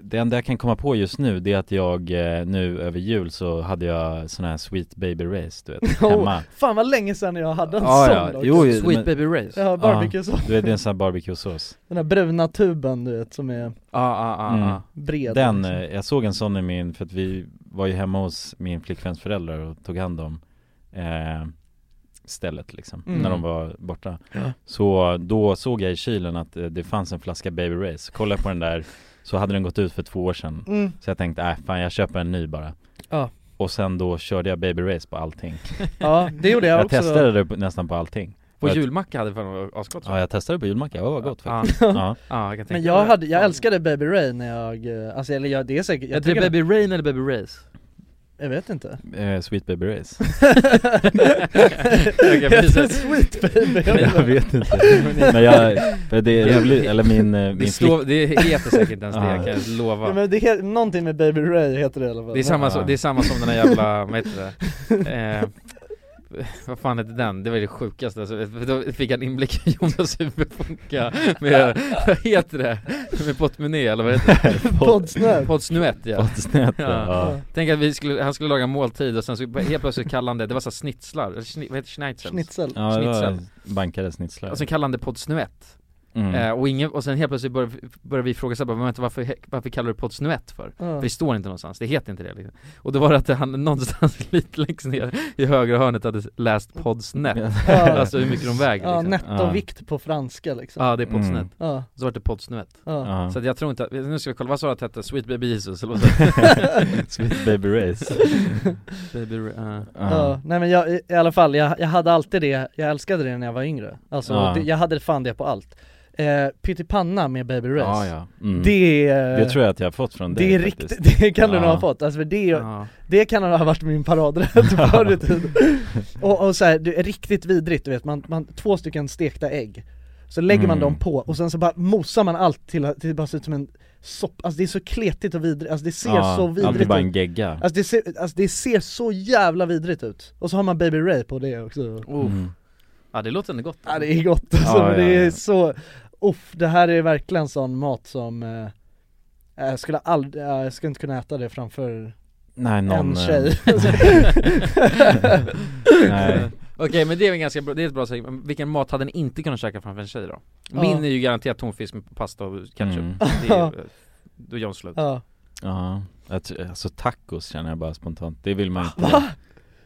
A: det enda jag kan komma på just nu det är att jag eh, nu över jul så hade jag sån här Sweet Baby Race du vet, hemma
E: Fan vad länge sedan jag hade en
A: Ja,
E: sån
A: ja.
E: också.
A: Jo, jo, Sweet men- Baby
D: Race.
E: Ja, barbecuesås
A: Ja, Du vet det är en sån här barbecuesås
E: Den där bruna tuben du vet som är
D: ah,
A: Mm.
E: bred liksom.
A: Den, eh, jag såg en sån i min, för att vi var ju hemma hos min flickväns föräldrar och tog hand om eh, stället liksom,
D: Mm.
A: när de var borta
D: Ja.
A: Så då såg jag i kylen att eh, det fanns en flaska Baby Race, kollade på den där så hade den gått ut för två år sedan
E: Mm.
A: Så jag tänkte, äh fan jag köper en ny bara
E: Ja.
A: Och sen då körde jag Baby Race på allting
E: Ja, det gjorde jag
A: Jag
E: också.
A: testade det på, nästan på allting
D: På
A: Jag-
D: julmacka hade fan asgott
A: Ja jag testade det på julmacka, det var gott faktiskt
D: Ja.
A: Ja.
D: Ja, jag kan tänka
E: Men
D: mig
E: jag
D: det.
E: hade, jag älskade Baby Ray när jag, eh, alltså eller jag, det är säkert, jag,
D: Heter det
E: tycker-
D: Baby Rain eller Baby Race?
E: jag vet inte
A: Eh, Sweet Baby Race
D: Okej, precis.
E: Heter det Sweet Baby?
A: Jag vet inte, men jag, för det är roligt, eller min, eh,
D: Det
A: min
D: står-
A: flick-
D: det heter säkert inte ens det,
A: Ja.
D: kan jag lova.
E: Ja, men det heter, någonting med Baby Ray heter det i alla fall
D: Det är samma,
A: Ja.
D: som, det är samma som den här jävla, vad heter det? Eh, vad fan hette den? Det var det sjukaste, alltså, för då fick jag en inblick i Jonas hur det funkar med, vad heter det? Med pottmené eller vad heter det?
E: Poddsnöt.
D: Poddsnuett ja.
A: Poddsnuett, ja. Ja.
D: Tänk att vi skulle, han skulle laga måltid och sen så helt plötsligt kallade han det, det var så här snitslar, eller schni, vad heter det? Schneitzel?
E: Schnitzel.
A: Ja, det var
D: Schnitzel.
A: bankade snitslar
D: Och sen kallade han det poddsnuett
A: Mm.
D: Alltså, eh, och, ingen, och sen helt plötsligt började, vi- började vi ifrågasätta, bara, men vänta, varför, he- varför kallar du det poddsnuett för? För det står inte någonstans, det heter inte det liksom. Och då var det att han någonstans lite längst ner i högra hörnet hade läst poddsnett
E: Ja.
D: Alltså hur mycket de väger
E: Ja,
D: liksom.
E: nettovikt på franska liksom
D: Ja det är poddsnett,
E: Mm. Ja.
D: så vart det poddsnuett
E: Ja.
A: Ja.
D: Så att jag tror inte, att, nu ska vi kolla, vad sa du att det hette? Sweet Baby Jesus eller vad
A: Sweet Baby Race
D: Baby, uh.
E: Ja, nej men jag, i- i alla fall, jag, jag hade alltid det, jag älskade det när jag var yngre Alltså,
A: Ja.
E: det, jag hade fan det på allt eh, Pyttipanna med Baby Race
A: Ja, ja. Mm.
E: Det är...
A: Det tror jag att jag har fått från
E: det
A: dig
E: är
A: faktiskt.
E: riktigt, det kan du nog ha
A: Ja.
E: fått, alltså för det, det kan nog ha varit min paradrätt förr i tiden Och, och så här, det är riktigt vidrigt du vet, man, man, två stycken stekta ägg Så lägger man
A: Mm.
E: dem på och sen så bara mosar man allt till att till det bara ser ut som en soppa, alltså det är så kletigt och vidrigt, alltså det ser
A: Ja,
E: så
A: allt är
E: vidrigt
A: bara
E: ut.
A: en gegga.
E: Alltså det, ser, alltså det ser så jävla vidrigt ut, och så har man Baby Ray på det också
A: Mm.
D: Ja det låter ändå gott
E: Ja det är gott alltså,
A: Ja,
E: men
A: ja,
E: det är
A: ja.
E: så, uff, det här är verkligen sån mat som eh, jag skulle aldrig, eh, jag skulle inte kunna äta det framför
A: Nej, någon,
E: en
A: eh,
E: tjej
A: Nej.
D: Okej men det är väl ganska bra, det är ett bra segment. Men Vilken mat hade ni inte kunnat käka framför en tjej då?
E: Ja.
D: Min är ju garanterat tonfisk med pasta och ketchup
A: Mm.
D: Det är ju, eh, då är John slut
E: Ja.
A: Ja, jag tr- alltså tacos känner jag bara spontant, det vill man inte
D: Det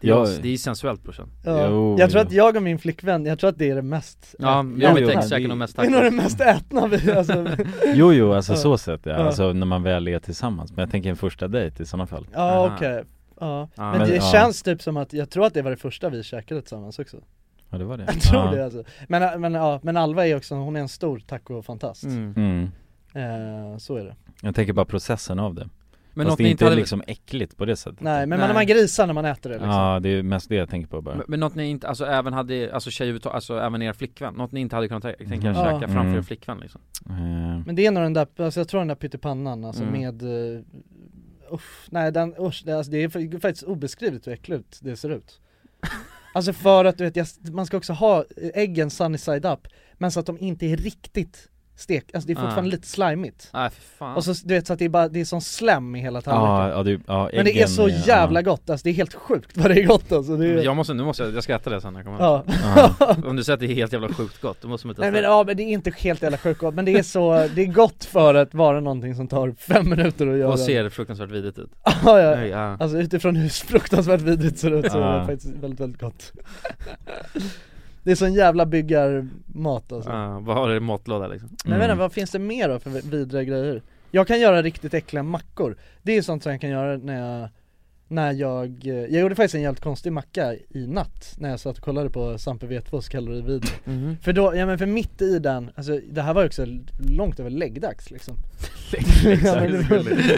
D: är,
A: Jag,
D: det är ju sensuellt brorsan
E: Ja.
A: Jo,
E: jag tror
A: jo.
E: att jag och min flickvän, jag tror att det är det mest
D: Ja, jag
E: ätna.
D: vet exakt Det- de mest
E: Det är nog det mest ätna vi, alltså
A: Jo jo, alltså så sett ja,
E: Ja.
A: alltså när man väl är tillsammans, men jag tänker en första dejt i sådana fall
E: Ja okej, ja.
A: Ja.
E: men,
A: Men-
E: det
A: ja.
E: känns typ som att, jag tror att det var det första vi käkade tillsammans också
A: Ja det var det
E: Jag tror
A: ja.
E: det alltså. men, men, ja, men Alva är också, hon är en stor tacofantast
D: Mm.
A: Mm.
E: eh, Så är det
A: Jag tänker bara processen av det
D: Men
A: men Fast
D: något
A: det
D: ni
A: är
D: inte
A: inte
D: hade-
A: liksom äckligt på det sättet
E: Nej men
D: Nej.
E: Man, man grisar när man äter det liksom
A: Ja det är mest det jag tänker på bara
D: men, men något ni inte, alltså även hade, alltså tjej överhuvudtaget, alltså även er flickvän, något ni inte hade kunnat tä- tänka er
A: Mm.
D: käka
A: Ja.
D: framför
A: Mm.
D: er flickvän liksom
A: Eh,
E: Men det är nog den där, alltså jag tror den där pyttipannan alltså
D: Mm.
E: med uh, uff, nej den, usch, det, alltså, det är fa- faktiskt obeskrivligt hur äckligt det ser ut Alltså för att du vet, jag, man ska också ha äggen sunny side up, men så att de inte är riktigt stek, alltså det är fortfarande
D: Ah.
E: lite slimigt
D: Nej för fan.
E: Och så du vet så att det är bara, det är som slem i hela tallriken
A: Ja, ja, det, ja,
E: Men det är
A: äggen
E: så jävla gott, alltså det är helt sjukt vad det är gott alltså det är...
D: Jag måste, nu måste jag, jag ska äta det sen när jag kommer
E: Ja.
D: hem. Om du säger att det är helt jävla sjukt gott, då måste man testa
E: Nej men ja men det är inte helt jävla sjukt gott, men det är så, det är gott för att vara någonting som tar fem minuter att göra
D: Och ser fruktansvärt vidrigt ut
E: ja, ja.
D: Nej, Ah. ja.
E: Alltså utifrån hur fruktansvärt vidrigt ser ut så är
D: Ja.
E: det faktiskt väldigt, väldigt gott Det är sån jävla byggarmat alltså
D: Ja, vad har du i matlåda liksom?
E: Men jag vet inte, vad finns det mer då för vidriga grejer? Jag kan göra riktigt äckliga mackor Det är sånt som jag kan göra när jag när jag, eh, jag gjorde faktiskt en jävligt konstig macka i natt när jag satt och kollade på Sampe Vetfås kalorivid
D: Mhm.
E: För då, ja men för mitt i den, alltså det här var ju också långt över läggdags liksom ja, men, det var-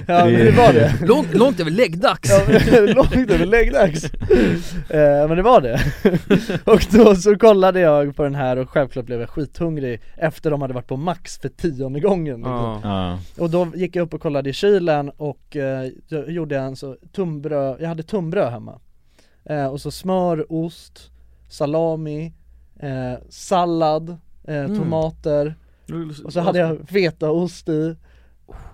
E: ja men det var det
D: Långt, långt över läggdags!
E: Ja, men långt över läggdags! Eh, men det var det. och då så kollade jag på den här och självklart blev jag skithungrig efter de hade varit på Max för tionde gången liksom.
A: Ja.
E: Och då gick jag upp och kollade i kylen och eh, då gjorde jag en så tunnbröd, jag hade tunnbröd hemma eh, Och så smör, ost, salami, eh, sallad, eh,
D: Mm.
E: tomater Och så hade jag fetaost i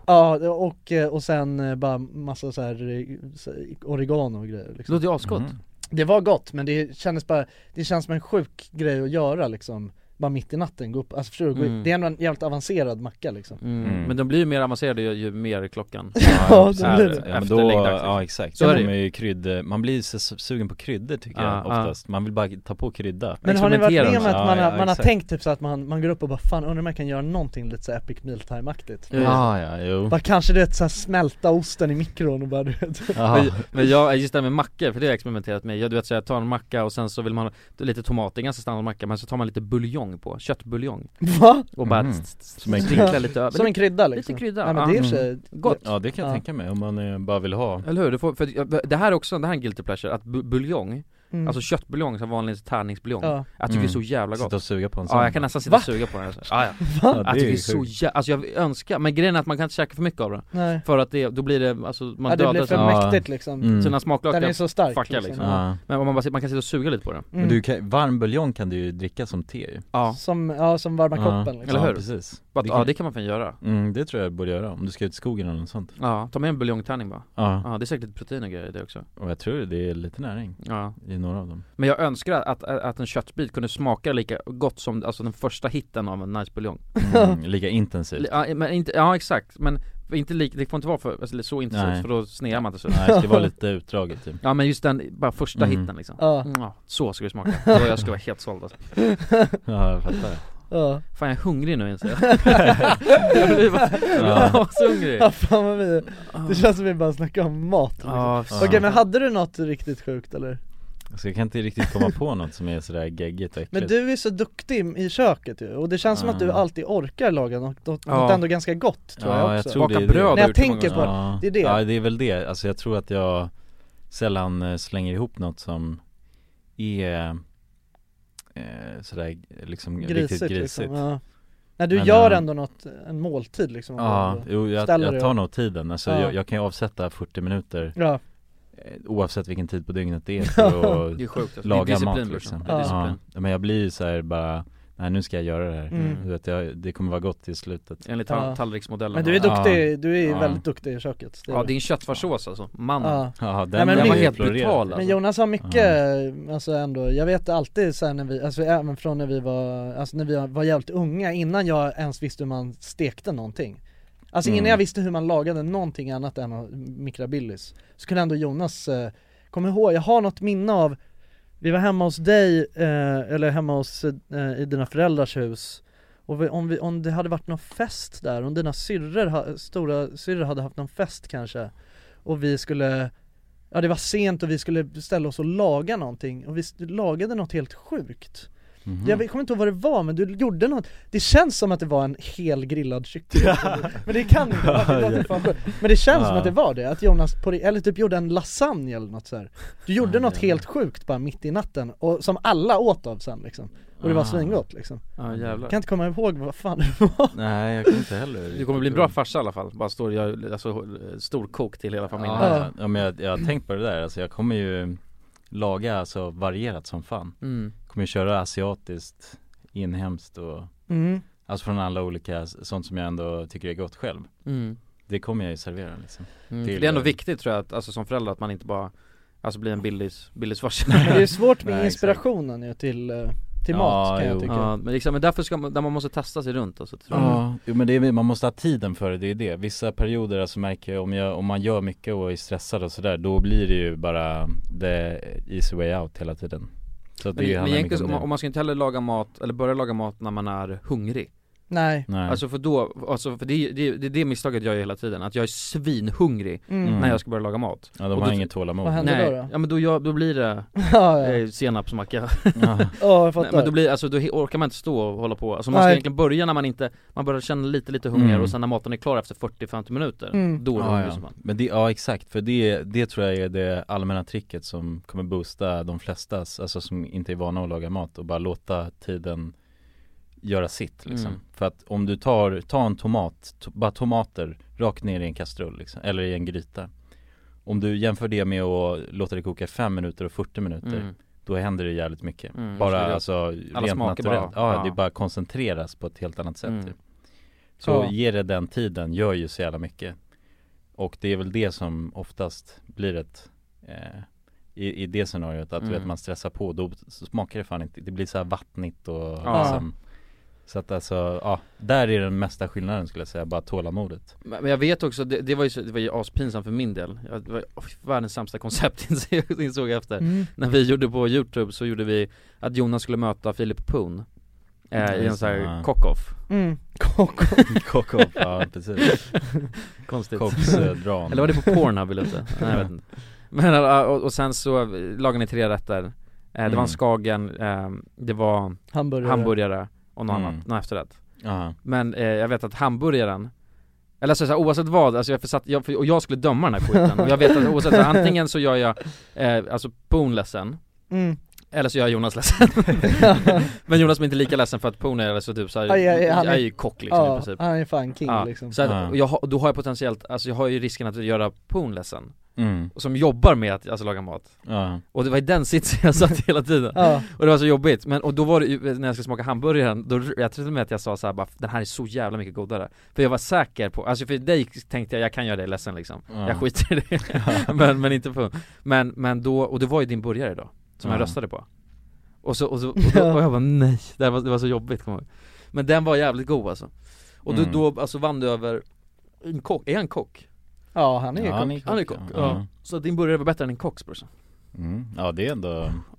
E: Ja det- och, eh, och sen eh, bara massa så här eh, så här oregano och grejer
D: Det
E: liksom.
D: låter ju asgott
E: Det var gott men det kändes bara, det känns som en sjuk grej att göra liksom Bara mitt i natten, gå upp, alltså förstår du? Gå i-
D: Mm.
E: Det är ändå en jävligt avancerad macka liksom
D: Mm. Men de blir ju mer avancerade ju, ju mer klockan
E: Ja, det
D: är
E: blir det.
A: Ja, men
D: efter
A: då,
D: läggdags.
A: ja exakt,
D: Så är det
A: man,
D: ju. Ah,
A: ju krydd, man blir ju så sugen på kryddor tycker
D: Ja,
A: jag oftast, man vill bara ta på krydda
E: Men har ni varit med om
A: Experimentera
E: att man,
A: också.
E: har,
A: Ja,
E: man har
A: exakt.
E: tänkt typ så att man, man går upp och bara fan undrar om jag kan göra någonting lite så här Epic Meal Time-aktigt?
A: Ja, ja, jo
E: Bara kanske du vet såhär smälta osten i mikron och bara du vet
D: Men, men jag, just det här med mackor, för det har jag experimenterat med. Jag, du vet så jag tar en macka och sen så vill man ha lite tomater, ganska standard macka, men så tar man lite buljong på, köttbuljong
E: Va?
D: och bara
A: Mhm.
D: mm.
A: Som en
D: sprinklar lite över
E: Som en krydda liksom
D: Lite krydda,
E: ja, men det är i och
D: ja. Mm.
E: för sig
D: Gott.
A: Ja det kan jag
E: Ja.
A: tänka mig, om man eh, bara vill ha
D: Eller hur? Du får, för jag- det här är också, det här är en guilty pleasure, att bu- buljong,
E: Mm.
D: alltså köttbuljong som vanlig tärningsbuljong
E: Ja.
D: Jag tycker det är så
A: Mm.
D: jävla gott
A: Sitta och suga på en sån
D: Ja jag kan nästan sitta och suga på den här så. Ja, ja.
A: Ja,
D: Jag tycker
A: det är
D: det är
A: ju
D: så
A: sjukt.
D: jävla, alltså jag önskar, men grejen är att man kan inte käka för mycket av det
E: Nej,
D: För att det, då blir det, alltså man
E: ja, det
D: dödar
E: blir för
D: sina-
A: Ja.
E: mäktigt liksom
A: Mm.
D: sina
E: Den är
D: smaklökar
E: så stark
D: fuckar liksom.
A: Ja.
D: Men om man, bara, sit- man kan sitta och suga lite på det
A: Men
E: Mm.
A: du kan, varm buljong kan du ju dricka som te ju
D: Ja,
E: Som, ja som varma
A: Ja.
E: koppen liksom
D: Eller
A: Ja
D: hur?
A: precis
D: bara,
A: Det
D: det
A: kan-
D: ja det kan man fan göra
A: mm, det tror jag borde göra, om du ska ut i skogen eller något sånt
D: Ja, ta med en buljongtärning bara
A: Ja,
D: Ja, det är säkert lite protein och grejer i det också
A: och jag tror det är lite näring
D: Ja
A: i några av dem
D: Men jag önskar att, att, att en köttbit kunde smaka lika gott som alltså den första hitten av en nice buljong
A: mm, Lika intensivt
D: Ja, men inte, ja exakt, men inte lik, det får inte vara för, alltså, så intensivt
A: Nej.
D: för då snear man till slut
A: Nej det ska vara lite utdraget typ
D: Ja men just den, bara första
A: Mm.
D: hitten liksom
E: Ja.
D: Mm, ja, så ska det smaka, då jag ska vara helt såld alltså.
A: Ja jag fattar
E: Ja,
D: Fan jag är hungrig nu inser jag Jag blir bara- jag är ashungrig
E: ja fan vad vi, det känns som vi bara snackar om mat liksom.
D: Ja,
E: Okej men hade du något riktigt sjukt eller?
A: Så jag kan inte riktigt komma på något som är sådär geggigt och
E: Men
A: äckligt
E: du är så duktig i köket ju, och det känns som att du
A: Ja.
E: alltid orkar laga något, något
D: Ja.
E: ändå ganska gott tror
A: Ah. Ja,
E: jag
A: jag
E: också
A: tror
D: Baka
A: det är det.
D: bröd har
E: När jag
D: gjort så många
E: tänker på
D: gånger.
A: ja.
E: det är det.
A: Ja det är väl det, alltså jag tror att jag sällan eh, slänger ihop något som är eh, sådär liksom riktigt grisigt
E: Liksom, ja. Nej du
A: Men,
E: gör
A: ja.
E: ändå något, en måltid liksom om
A: Ja,
E: du-
A: jo, jag,
E: ställer
A: jag
E: dig
A: tar
E: upp.
A: nog tiden, alltså,
E: Ja.
A: jag, jag kan ju avsätta 40 minuter
E: ja.
A: eh, Oavsett vilken tid på dygnet det är för att
D: Det är sjukt alltså. det är
A: laga
D: disciplin,
A: mat liksom
D: Det är
A: ja.
D: disciplin
A: Men jag blir ju så här bara, nej nu ska jag göra det här
E: Mm.
A: du vet, jag, Det kommer vara gott i slutet
D: Enligt
E: Ja.
D: ja. tallriksmodellen
E: Men du är
A: Ja.
E: duktig, du är
A: Ja.
E: väldigt duktig i köket det är
D: Ja
E: du.
D: din köttfärssås alltså, mannen
E: ja.
A: Ja, den,
E: Nej, men
A: den
E: min-
A: var helt
D: helt brutal,
A: brutal
D: alltså.
E: Men Jonas har mycket, alltså ändå, jag vet alltid sen när vi, alltså även från när vi var, alltså när vi var jävligt unga innan jag ens visste hur man stekte någonting Alltså innan
A: Mm.
E: jag visste hur man lagade någonting annat än att mikrabilis Så kunde ändå Jonas, eh, kom ihåg, jag har något minne av Vi var hemma hos dig, eh, eller hemma hos, eh, i dina föräldrars hus och vi, om, vi, om det hade varit någon fest där, om dina syrror, ha- stora syrror hade haft någon fest kanske Och vi skulle, ja det var sent och vi skulle ställa oss och laga någonting och vi s- lagade något helt sjukt
D: Mhm.
E: Jag vet- kommer inte ihåg vad det var men du gjorde något, det känns som att det var en hel grillad kyckling Men det kan inte vara, det låter fan sjukt. Men det känns som att det var det, att Jonas på det, eller typ gjorde en lasagne eller något så här. Du gjorde något helt sjukt bara mitt i natten och som alla åt av sen liksom Och det var
A: Ah.
E: svingott liksom
D: Ja jävlar
E: Kan inte komma ihåg vad fan det var
A: Nej jag kan inte heller
D: Du kommer bli en bra farsa i alla fall, bara står, gör, alltså, storkok till hela familjen
A: Ja, ja. ja men jag, jag har tänkt på det där, alltså jag kommer ju laga alltså varierat som fan
D: mm.
A: Kommer ju köra asiatiskt, inhemskt och
E: mm.
A: Alltså från alla olika, sånt som jag ändå tycker är gott själv
D: Mm.
A: Det kommer jag ju servera liksom
D: Mm, för
A: Till-
D: det är ändå viktigt tror jag, att, alltså som förälder att man inte bara Alltså blir en billis, billisfarsa
E: Men det är svårt med
D: Nej, exakt.
E: inspirationen ju till, eh, till mat kan jag tycka
D: Ja, men liksom, men därför ska man, där man måste testa sig runt alltså, tror jag.
A: Ja, jo, men det är, man måste ha tiden för det, det är det. Vissa perioder alltså märker jag om, jag om man gör mycket och är stressad och sådär, då blir det ju bara the easy way out hela tiden. Så att
D: Men,
A: det
D: men
A: handlar mycket
D: egentligen, om
A: om
D: man,
A: det.
D: om man ska inte heller laga mat, eller börja laga mat när man är hungrig
E: Nej.
A: Nej.
D: Alltså för då, alltså för det, det, det är det misstaget jag gör hela tiden, att jag är svinhungrig
E: Mm.
D: när jag ska börja laga mat
A: Ja, de
D: Och
A: har inget tålamod. Vad händer
D: Nej,
A: då då?
D: Ja men då, gör- då blir det
E: Ja, ja.
D: eh, senapsmacka
E: Ja, jag fattar.
D: Nej, men då blir, alltså då he- orkar man inte stå och hålla på, alltså man
E: Nej.
D: ska egentligen börja när man inte, man börjar känna lite lite hunger
A: Mm.
D: och sen när maten är klar efter 40-50 minuter,
A: Mm.
D: då är det
A: ja,
D: hungrig
A: ja.
D: som man
A: Men det, ja exakt, för det, det tror jag är det allmänna tricket som kommer boosta de flestas, alltså som inte är vana att laga mat och bara låta tiden göra sitt liksom.
D: Mm.
A: För att om du tar, ta en tomat, to, bara tomater rakt ner i en kastrull liksom, eller i en gryta Om du jämför det med att låta det koka 5 minuter och 40 minuter
D: Mm.
A: Då händer det jävligt mycket,
D: Mm,
A: bara
D: så det-
A: alltså
D: alla
A: rent
D: smaker
A: naturellt
D: bara-
A: ja,
D: ja.
A: det bara koncentreras på ett helt annat sätt
D: Mm.
A: typ. Så
D: Ja.
A: ge det den tiden, gör ju så jävla mycket Och det är väl det som oftast blir ett eh, i, I det scenariot att du
D: Mm.
A: vet man stressar på, då smakar det fan inte, det blir så här vattnigt och
D: Ja.
A: liksom, Så att alltså, ja, där är den mesta skillnaden skulle jag säga, bara tålamodet
D: Men men jag vet också, det, det var ju, så- det var ju aspinsamt för min del Jag- Det var oj, världens sämsta koncept insåg- insåg jag efter
A: Mm.
D: När vi gjorde på youtube så gjorde vi att Jonas skulle möta Philip Poon eh, I en
A: Just
D: sån
A: det,
D: här
A: ja.
D: cock-off
E: Mm. Cock-off.
A: Cock-off, ja, precis.
D: Konstigt
A: Cox-dram.
D: Eller var det på Pornhub eller inte? Nej jag vet inte Men eh, och, och sen så lagade ni tre rätter eh, Det var
A: Mm.
D: en skagen, eh, det var
E: Hamburgare.
D: hamburgare och något
A: Mm.
D: annat, någon efterrätt
A: Ja.
D: Men eh, jag vet att hamburgaren eller så, så här, oavsett vad, alltså jag försatt, jag, och jag skulle döma den här skiten och jag vet att oavsett, så här, antingen så gör jag, eh, alltså Poon ledsen
E: Mm.
D: Eller så gör jag Jonas ledsen Men Jonas blir inte lika ledsen för att Poon är alltså typ såhär,
E: Aj, aj, aj, han
D: jag är
E: är-
D: ju kock liksom
E: ja,
D: i princip
E: han är fan king, liksom.
D: Så
E: Ja.
D: att, och jag, har- då har jag potentiellt, alltså jag har ju risken att göra Poon ledsen
A: Mm.
D: Som jobbar med att, alltså laga mat
A: Ja.
D: Och det var i den sitsen jag satt hela tiden
E: Ja.
D: Och det var så jobbigt, men och då var det ju, när jag skulle smaka hamburgaren, då, jag tror till och med att jag sa såhär bara Den här är så jävla mycket godare För jag var säker på, alltså för dig tänkte jag, jag kan göra dig ledsen liksom
A: Ja.
D: Jag skiter i det, men, men inte på Men, men då, och det var ju din burgare då, som jag
A: Ja.
D: röstade på Och så, och så, och, då, och jag bara nej, det, här var, det var så jobbigt kommer jag ihåg. Men den var jävligt god alltså Och då,
A: Mm.
D: då alltså vann du över en kock, är han kock?
E: Ja han
A: är Ja, han kock. är kock,
D: Han är kock,
A: ja.
D: ja,
A: Ja.
D: Så att din burgare var bättre än en kocks brorsan
A: Mm. Ja det är ändå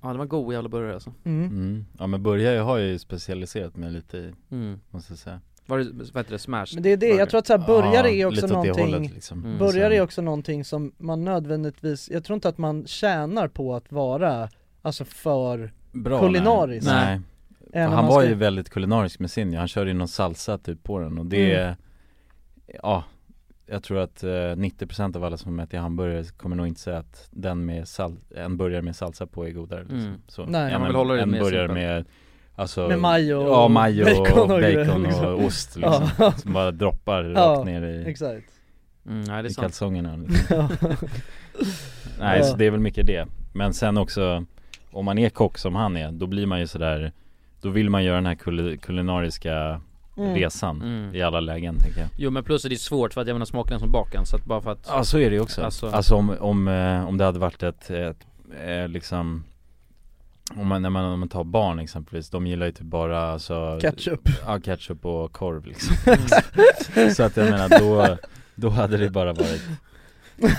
D: Ja det var en god jävla burgare alltså
A: mm. Ja men börja jag har ju specialiserat mig lite i,
D: Mm.
A: måste jag säga
D: Var det, vad heter det, smash?
E: Men det är det, jag tror att så här, burgare är
A: Ja,
E: också
A: lite åt det
E: någonting,
A: hållet, liksom. Mm.
E: burgare
A: Sen-
E: är också någonting som man nödvändigtvis, jag tror inte att man tjänar på att vara, alltså för
A: Bra,
E: kulinarisk
A: Nej, nej. För
E: Än om
A: han
E: man
A: var
E: ska-
A: ju väldigt kulinarisk med sin, han körde ju någon salsa typ på den och det,
E: Mm.
A: ja jag tror att eh, 90% av alla som äter hamburgare kommer nog inte säga att den med sal- en burgare med salsa på är godare liksom.
D: Mm.
A: så,
E: Nej.
A: än
E: Man
A: en,
E: vill hålla det
A: en
E: mer
A: burgare
E: simpelt.
A: med Alltså,
E: Med majo
A: ja,
E: och
A: majo och
E: bacon och
A: bacon och,
E: grejer, liksom.
A: ost liksom,
E: Ja.
A: som bara droppar
E: Ja,
A: rakt ner i,
E: exakt.
D: Mm, nej, det är
A: i
D: sant.
A: kalsongerna liksom.
E: Ja.
A: Nej
E: Ja.
A: så det är väl mycket det Men sen också Om man är kock som han är Då blir man ju sådär Då vill man göra den här kul- kulinariska
D: Mm.
A: resan
D: Mm.
A: I alla lägen tänker jag
D: Jo men plus att det är svårt för att jag menar smaken är som bakan så att bara för att
A: Ja så är det ju också Alltså,
D: Alltså-
A: om, om, eh, om det hade varit ett, ett eh, liksom om man, när man, om man tar barn exempelvis, de gillar ju typ bara alltså,
E: Ketchup.
A: Ja ketchup och korv liksom Så att jag menar då, då hade det bara varit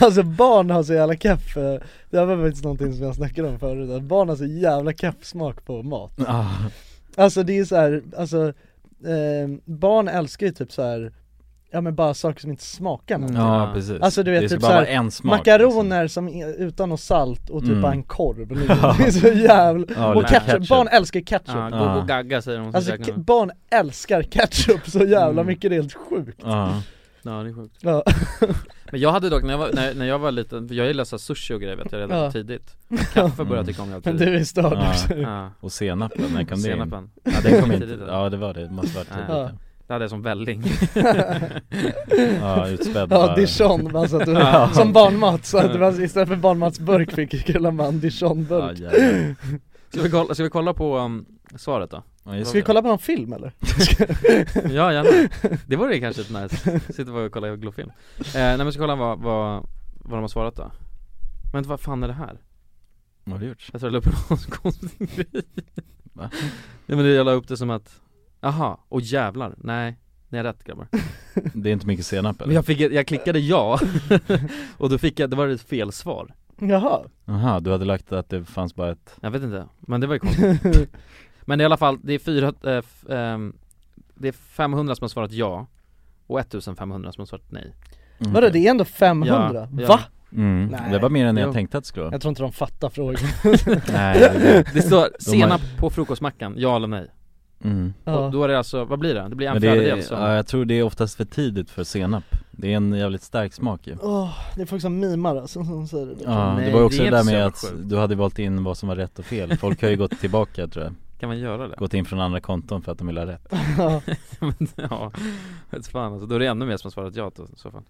E: Alltså barn har så jävla keff, eh, det här var faktiskt någonting som jag snackade om förut, att barn har så jävla keff smak på mat
A: Ah.
E: Alltså det är så här, alltså eh, barn älskar ju typ så här Ja men bara saker som inte smakar någonting
A: Ja, precis.
E: Alltså du
A: Det
E: vet
A: ska
E: typ
A: bara
E: såhär,
A: vara en smak, liksom.
E: makaroner som är utan något salt och typ
A: Mm.
E: bara en korv liksom. Det är så jävla,
A: Ja,
E: och
A: lite
E: ketchup.
A: ketchup.
E: barn älskar ketchup
D: Ja, gå och gagga säger de
E: Alltså ke- barn älskar ketchup så jävla mycket, det är helt sjukt
A: Mm. Ja.
D: Ja det är sjukt
E: Ja.
D: Men jag hade dock när jag var, när, när jag var liten, för jag gillade så här sushi och grejer vet jag redan
E: Ja.
D: tidigt Kaffe började jag
A: Mm.
D: tycka om jävligt
E: Men
D: tidigt.
E: du är störd
A: Ja.
E: också.
D: Ja.
A: Och senapen, när kom det in?
D: Senapen.
A: Ja den kom
D: Tidigt,
A: inte,
D: eller?
A: ja det var det, det måste varit
D: Nej.
A: tidigt
D: Ja.
A: ja.
D: Det hade jag som välling
A: Ja, utspädd
E: Ja,
A: bara.
E: dijon, man satt och, som barnmat så att man, istället för barnmatsburk fick killar man dijonburk
D: jävlar. Ska vi kolla, ska vi kolla på um, svaret då?
A: just
E: Ska vi
A: det.
E: kolla på någon film eller?
D: Ja gärna, det vore ju kanske ett nice, sitta och kolla glofilm eh, Nej men ska kolla vad, vad, vad de har svarat då Men vad fan är det här?
A: Vad har du gjort?
D: Jag tror jag la upp en konstig grej Va? Nej men det- jag la upp det som att, aha, och jävlar, nej, ni har rätt grabbar
A: Det är inte mycket senap
D: Men jag fick, jag klickade ja, och då fick jag, det var ett fel svar
E: Jaha
A: Jaha, du hade lagt att det fanns bara ett
D: Jag vet inte, men det var ju konstigt Men i alla fall, det är fyra, eh, f, ehm, det är 500 som har svarat ja och 1500 som har svarat nej
E: Vadå det är ändå 500?
D: Mm. Ja, ja.
E: Va?
A: Mm,
E: Nej.
A: det var mer än jag
D: Jo.
A: tänkte att det skulle vara
E: Jag tror inte de fattar frågan
A: Nej, det är det.
D: Det står
A: De har-
D: senap på frukostmackan, ja eller nej?
A: Mm.
D: Och då är det alltså, vad blir det? Det blir en
A: Men det
D: fjärdedel
A: är,
D: som
A: ja, jag tror det är oftast för tidigt för senap Det är en jävligt stark smak ju
E: Åh, det är folk som mimar alltså, som säger det
A: Ja,
D: Nej,
A: det var ju också
D: det är
A: det där
D: inte så
A: med
D: jävla
A: att
D: sjukt.
A: du hade valt in vad som var rätt och fel Folk har ju gått tillbaka tror jag
D: Kan man göra det?
A: Gått in från andra konton för att de vill ha rätt
E: Ja.
D: Men, ja, vet fan alltså, då är det ännu mer som har svarat ja då, i så fall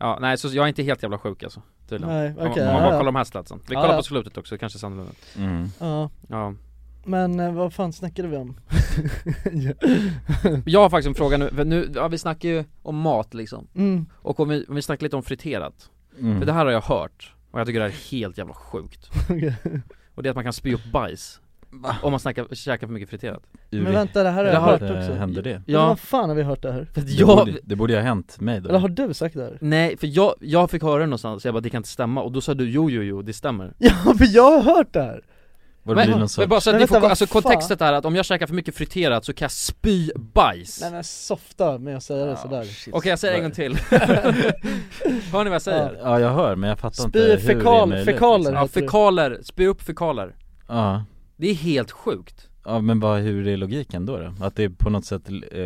D: Ja, nej så jag är inte helt jävla sjuk alltså tydligen
E: Nej,
D: Om-
E: okej,
D: Om man
E: ja,
D: bara
E: ja.
D: kollar de här statsen Vi
E: Ja,
D: kollar
E: ja.
D: på slutet också, kanske sannolikt
A: Mm.
E: Ja,
D: Ja
E: men eh, vad fan snackade vi om? ja.
D: Jag har faktiskt en fråga nu, för nu, ja, vi snackar ju om mat liksom
E: Mm.
D: Och om vi, om vi snackar lite om friterat
A: Mm.
D: För det här har jag hört, och jag tycker det här är helt jävla sjukt
E: Okej.
D: Och det är att man kan spy upp bajs Om man snackar, käkar för mycket friterat
E: Men vänta, det här har
D: Det
E: jag
D: har-
E: hört
A: eh,
E: också
A: händer det?
E: Ja.
D: Ja.
E: Vad fan har vi hört det här?
D: För att
A: det,
D: jag,
A: borde, det borde ju ha hänt mig då
E: Eller har du sagt det här?
D: nej för jag, jag fick höra det någonstans, jag bara det kan inte stämma, och då sa du jo jo jo, det stämmer
E: Ja, för jag har hört det här!
A: Var det
D: men,
A: blir någon
D: men
A: sorts...
D: bara så att
E: Men
D: ni
E: vänta,
D: får,
E: vad
D: alltså
E: fan?
D: kontextet är att om jag käkar för mycket friterat så kan jag spy bajs
E: Nej men softa med att säga det sådär
D: Okej jag säger en gång till Hör ni vad jag säger?
A: Ja jag hör men jag fattar inte
E: Spy
A: hur det är
E: fekal,
A: möjligt liksom.
E: fekaler
D: Ja,
E: heter det.
D: fekaler, spy upp fekaler
A: Ja,
D: Det är helt sjukt
A: ja men bara hur är logiken då då? Att det är på något sätt eh,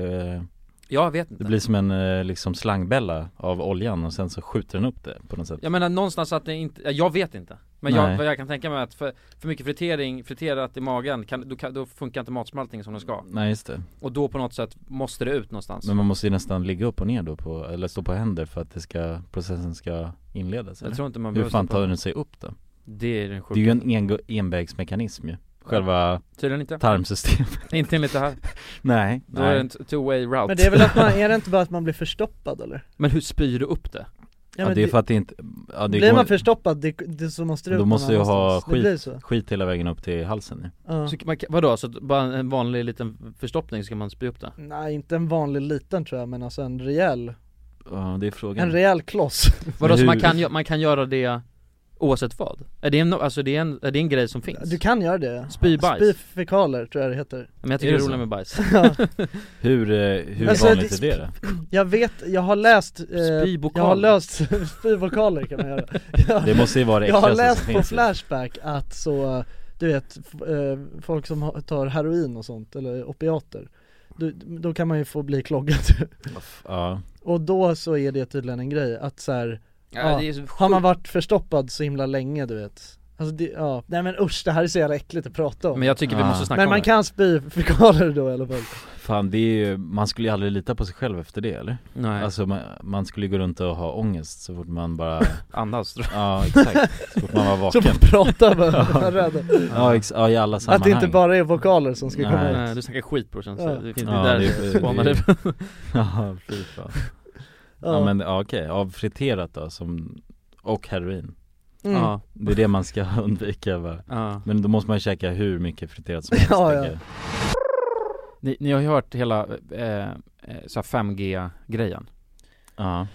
D: Jag vet inte
A: Det blir som en eh, liksom slangbälla av oljan och sen så skjuter den upp det på något sätt
D: Jag menar någonstans att det inte, ja, jag vet inte Men
A: Nej.
D: jag, vad jag kan tänka mig är att för, för mycket fritering, friterat i magen, kan, då, kan, då funkar inte matsmältningen som den ska
A: Nej just det,
D: Och då på något sätt måste det ut någonstans
A: men man måste ju nästan ligga upp och ner då på, eller stå på händer för att det ska, processen ska inledas
D: Jag
A: eller?
D: tror inte man
A: Hur
D: behöver
A: fan
D: stoppa-
A: tar den sig upp då?
D: Det är den
A: Det är ju
D: sjuka
A: en eng- envägsmekanism ju Själva
D: Tydligen inte,
A: tarmsystemet
D: inte enligt det här
A: Nej,
D: Då är det
A: nej
D: en t- two way route
E: Men det är väl att man, är det inte bara att man blir förstoppad eller?
D: Men hur spyr du upp det?
A: ja, det är för att det inte, ja, det
E: blir
A: går,
E: man förstoppad det, det, så måste det
A: Då
E: ut någon
A: måste jag ha
E: annanstans. Det
A: skit.
E: blir så.
A: skit hela vägen upp till halsen nu
E: Ja.
D: Så man, kan- vadå, så att bara en vanlig liten förstoppning så kan man spy upp det?
E: Nej inte en vanlig liten tror jag men alltså en rejäl,
A: Ja det är frågan
E: en rejäl kloss
D: Vadå, så
A: hur-
D: man kan, gö- man kan göra det oavsett vad? Är det en, no- alltså det är en, är det en grej som finns?
E: Du kan göra det
D: Spy bajs?
E: Spyfekaler tror jag det heter
D: Men jag
A: Är
D: tycker det är
A: det
D: roligt
A: så?
D: med bajs
E: Ja.
A: Hur, eh, hur
E: Alltså,
A: vanligt
E: det-
A: är det då?
E: Jag vet, jag har läst eh,
D: Spybokal.
E: Jag har läst, spyvokaler kan man göra jag,
A: Det måste ju vara det
E: jag har
A: äckligaste
E: läst
A: som
E: på
A: finns ju.
E: Flashback att så, du vet, f- eh, folk som har- tar heroin och sånt, eller opiater då, då kan man ju få bli kloggad
A: Ja,
E: Och då så är det tydligen en grej att så här, Ja,
D: det är så
E: Har man
D: sjukt.
E: varit förstoppad så himla länge du vet Alltså det, ja, nej men usch det här är så jävla äckligt att prata om
D: Men jag tycker vi
A: Ah.
D: måste snacka
E: Men man
D: om
E: kan spy fekaler då i alla fall
A: fan det är ju, man skulle ju aldrig lita på sig själv efter det eller?
D: det Nej,
A: Alltså man, man skulle ju gå runt och ha ångest så fort man bara,
D: andas tror
A: ja exakt, så fort man var
E: Så
A: vaken
E: man pratar med varandra
A: Ja, ex- ja i alla sammanhang
E: Att det inte bara är vokaler som ska komma
D: jag
A: Nej.
E: ut
D: Nej, Du snackar skit brorsan, så
E: Ja.
D: det, det är
A: Ja,
D: där
A: det
D: det
A: är- det
D: spanar
A: Ja, fy fan. Ja, men ja, okej, avfriterat då som, och heroin
E: mm.
D: Ja,
A: Det är det man ska undvika va?
D: ja
A: Men då måste man käka hur mycket friterat som helst
E: Ja,
A: tänker
E: ja.
A: jag.
D: ni, ni har ju hört hela eh, eh, så här 5G-grejen
A: ja.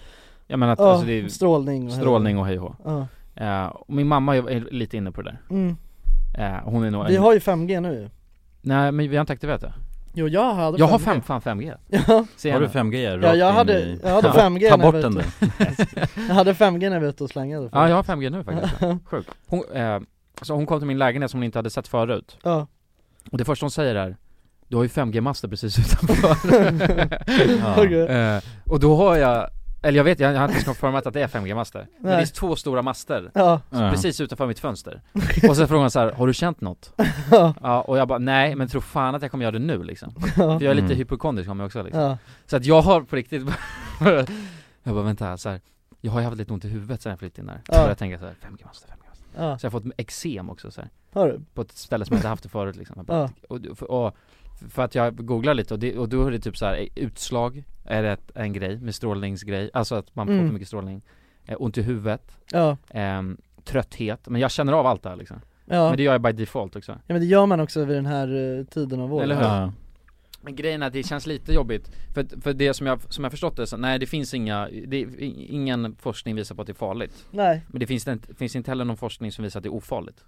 D: Jag menar att
E: Ja,
D: alltså, det är
E: strålning och
D: strålning och hej och hå.
E: ja.
D: eh, och Min mamma är- är lite inne på det där
E: mm.
D: eh, Hon är nog
E: Vi har ju 5G nu ju.
D: Nej men vi har inte aktiverat det
E: Jo jag hade
D: Jag har
E: 5G.
D: fem, fan 5G
E: ja.
D: Ser
A: Har du
D: jag
A: 5G rakt
E: ja, jag
A: in
E: hade,
A: i...
E: jag hade 5G
A: Ta
E: när jag
A: bort
E: var
A: den då
E: ute- Jag hade 5G när vi var ute och slangade
D: Ja jag har 5G nu faktiskt, sjukt hon, eh, Så hon kom till min lägenhet som hon inte hade sett förut
E: ja.
D: Och det första hon säger är Du har ju 5G-master precis utanför
A: Ja.
E: Okej.
D: eh, Och då har jag eller jag vet, jag har inte ens konfirmat att det är 5G-master Men det
E: Nej.
D: är två stora master
E: ja.
A: Ja.
D: precis utanför mitt fönster Och sen frågar hon så här, har du känt något?
E: Ja.
D: Ja, och jag bara nej men tro fan att jag kommer göra det nu liksom
E: Ja.
D: För jag är lite
A: Mm.
D: hypokondrisk av mig också liksom.
E: ja.
D: Så att jag har på riktigt Jag bara vänta här, så här. Jag har ju haft lite ont i huvudet sen jag flyttade in här Då
E: Ja.
D: började jag tänka så här, 5G master, 5G master
E: Ja.
D: Så jag har fått eksem också så här.
E: Har du?
D: På ett ställe som jag inte haft det förut liksom. Jag bara,
E: Ja.
D: och, och, och, för att jag googlar lite och, det, och då är det typ så här utslag är ett, en grej med strålningsgrej, alltså att man får
E: Mm.
D: för mycket strålning. Eh, ont i huvudet.
E: Ja.
D: Ehm, trötthet, men jag känner av allt det här liksom.
E: Ja.
D: Men det gör jag by default också.
E: Ja men det gör man också vid den här eh, tiden av året
D: Eller hur? Men grejen är att det känns lite jobbigt För, att- för det som jag, som jag förstått det, så, nej det finns inga, det, ingen forskning visar på att det är farligt
E: Nej.
D: Men det finns, det inte, finns inte heller någon forskning som visar att det är ofarligt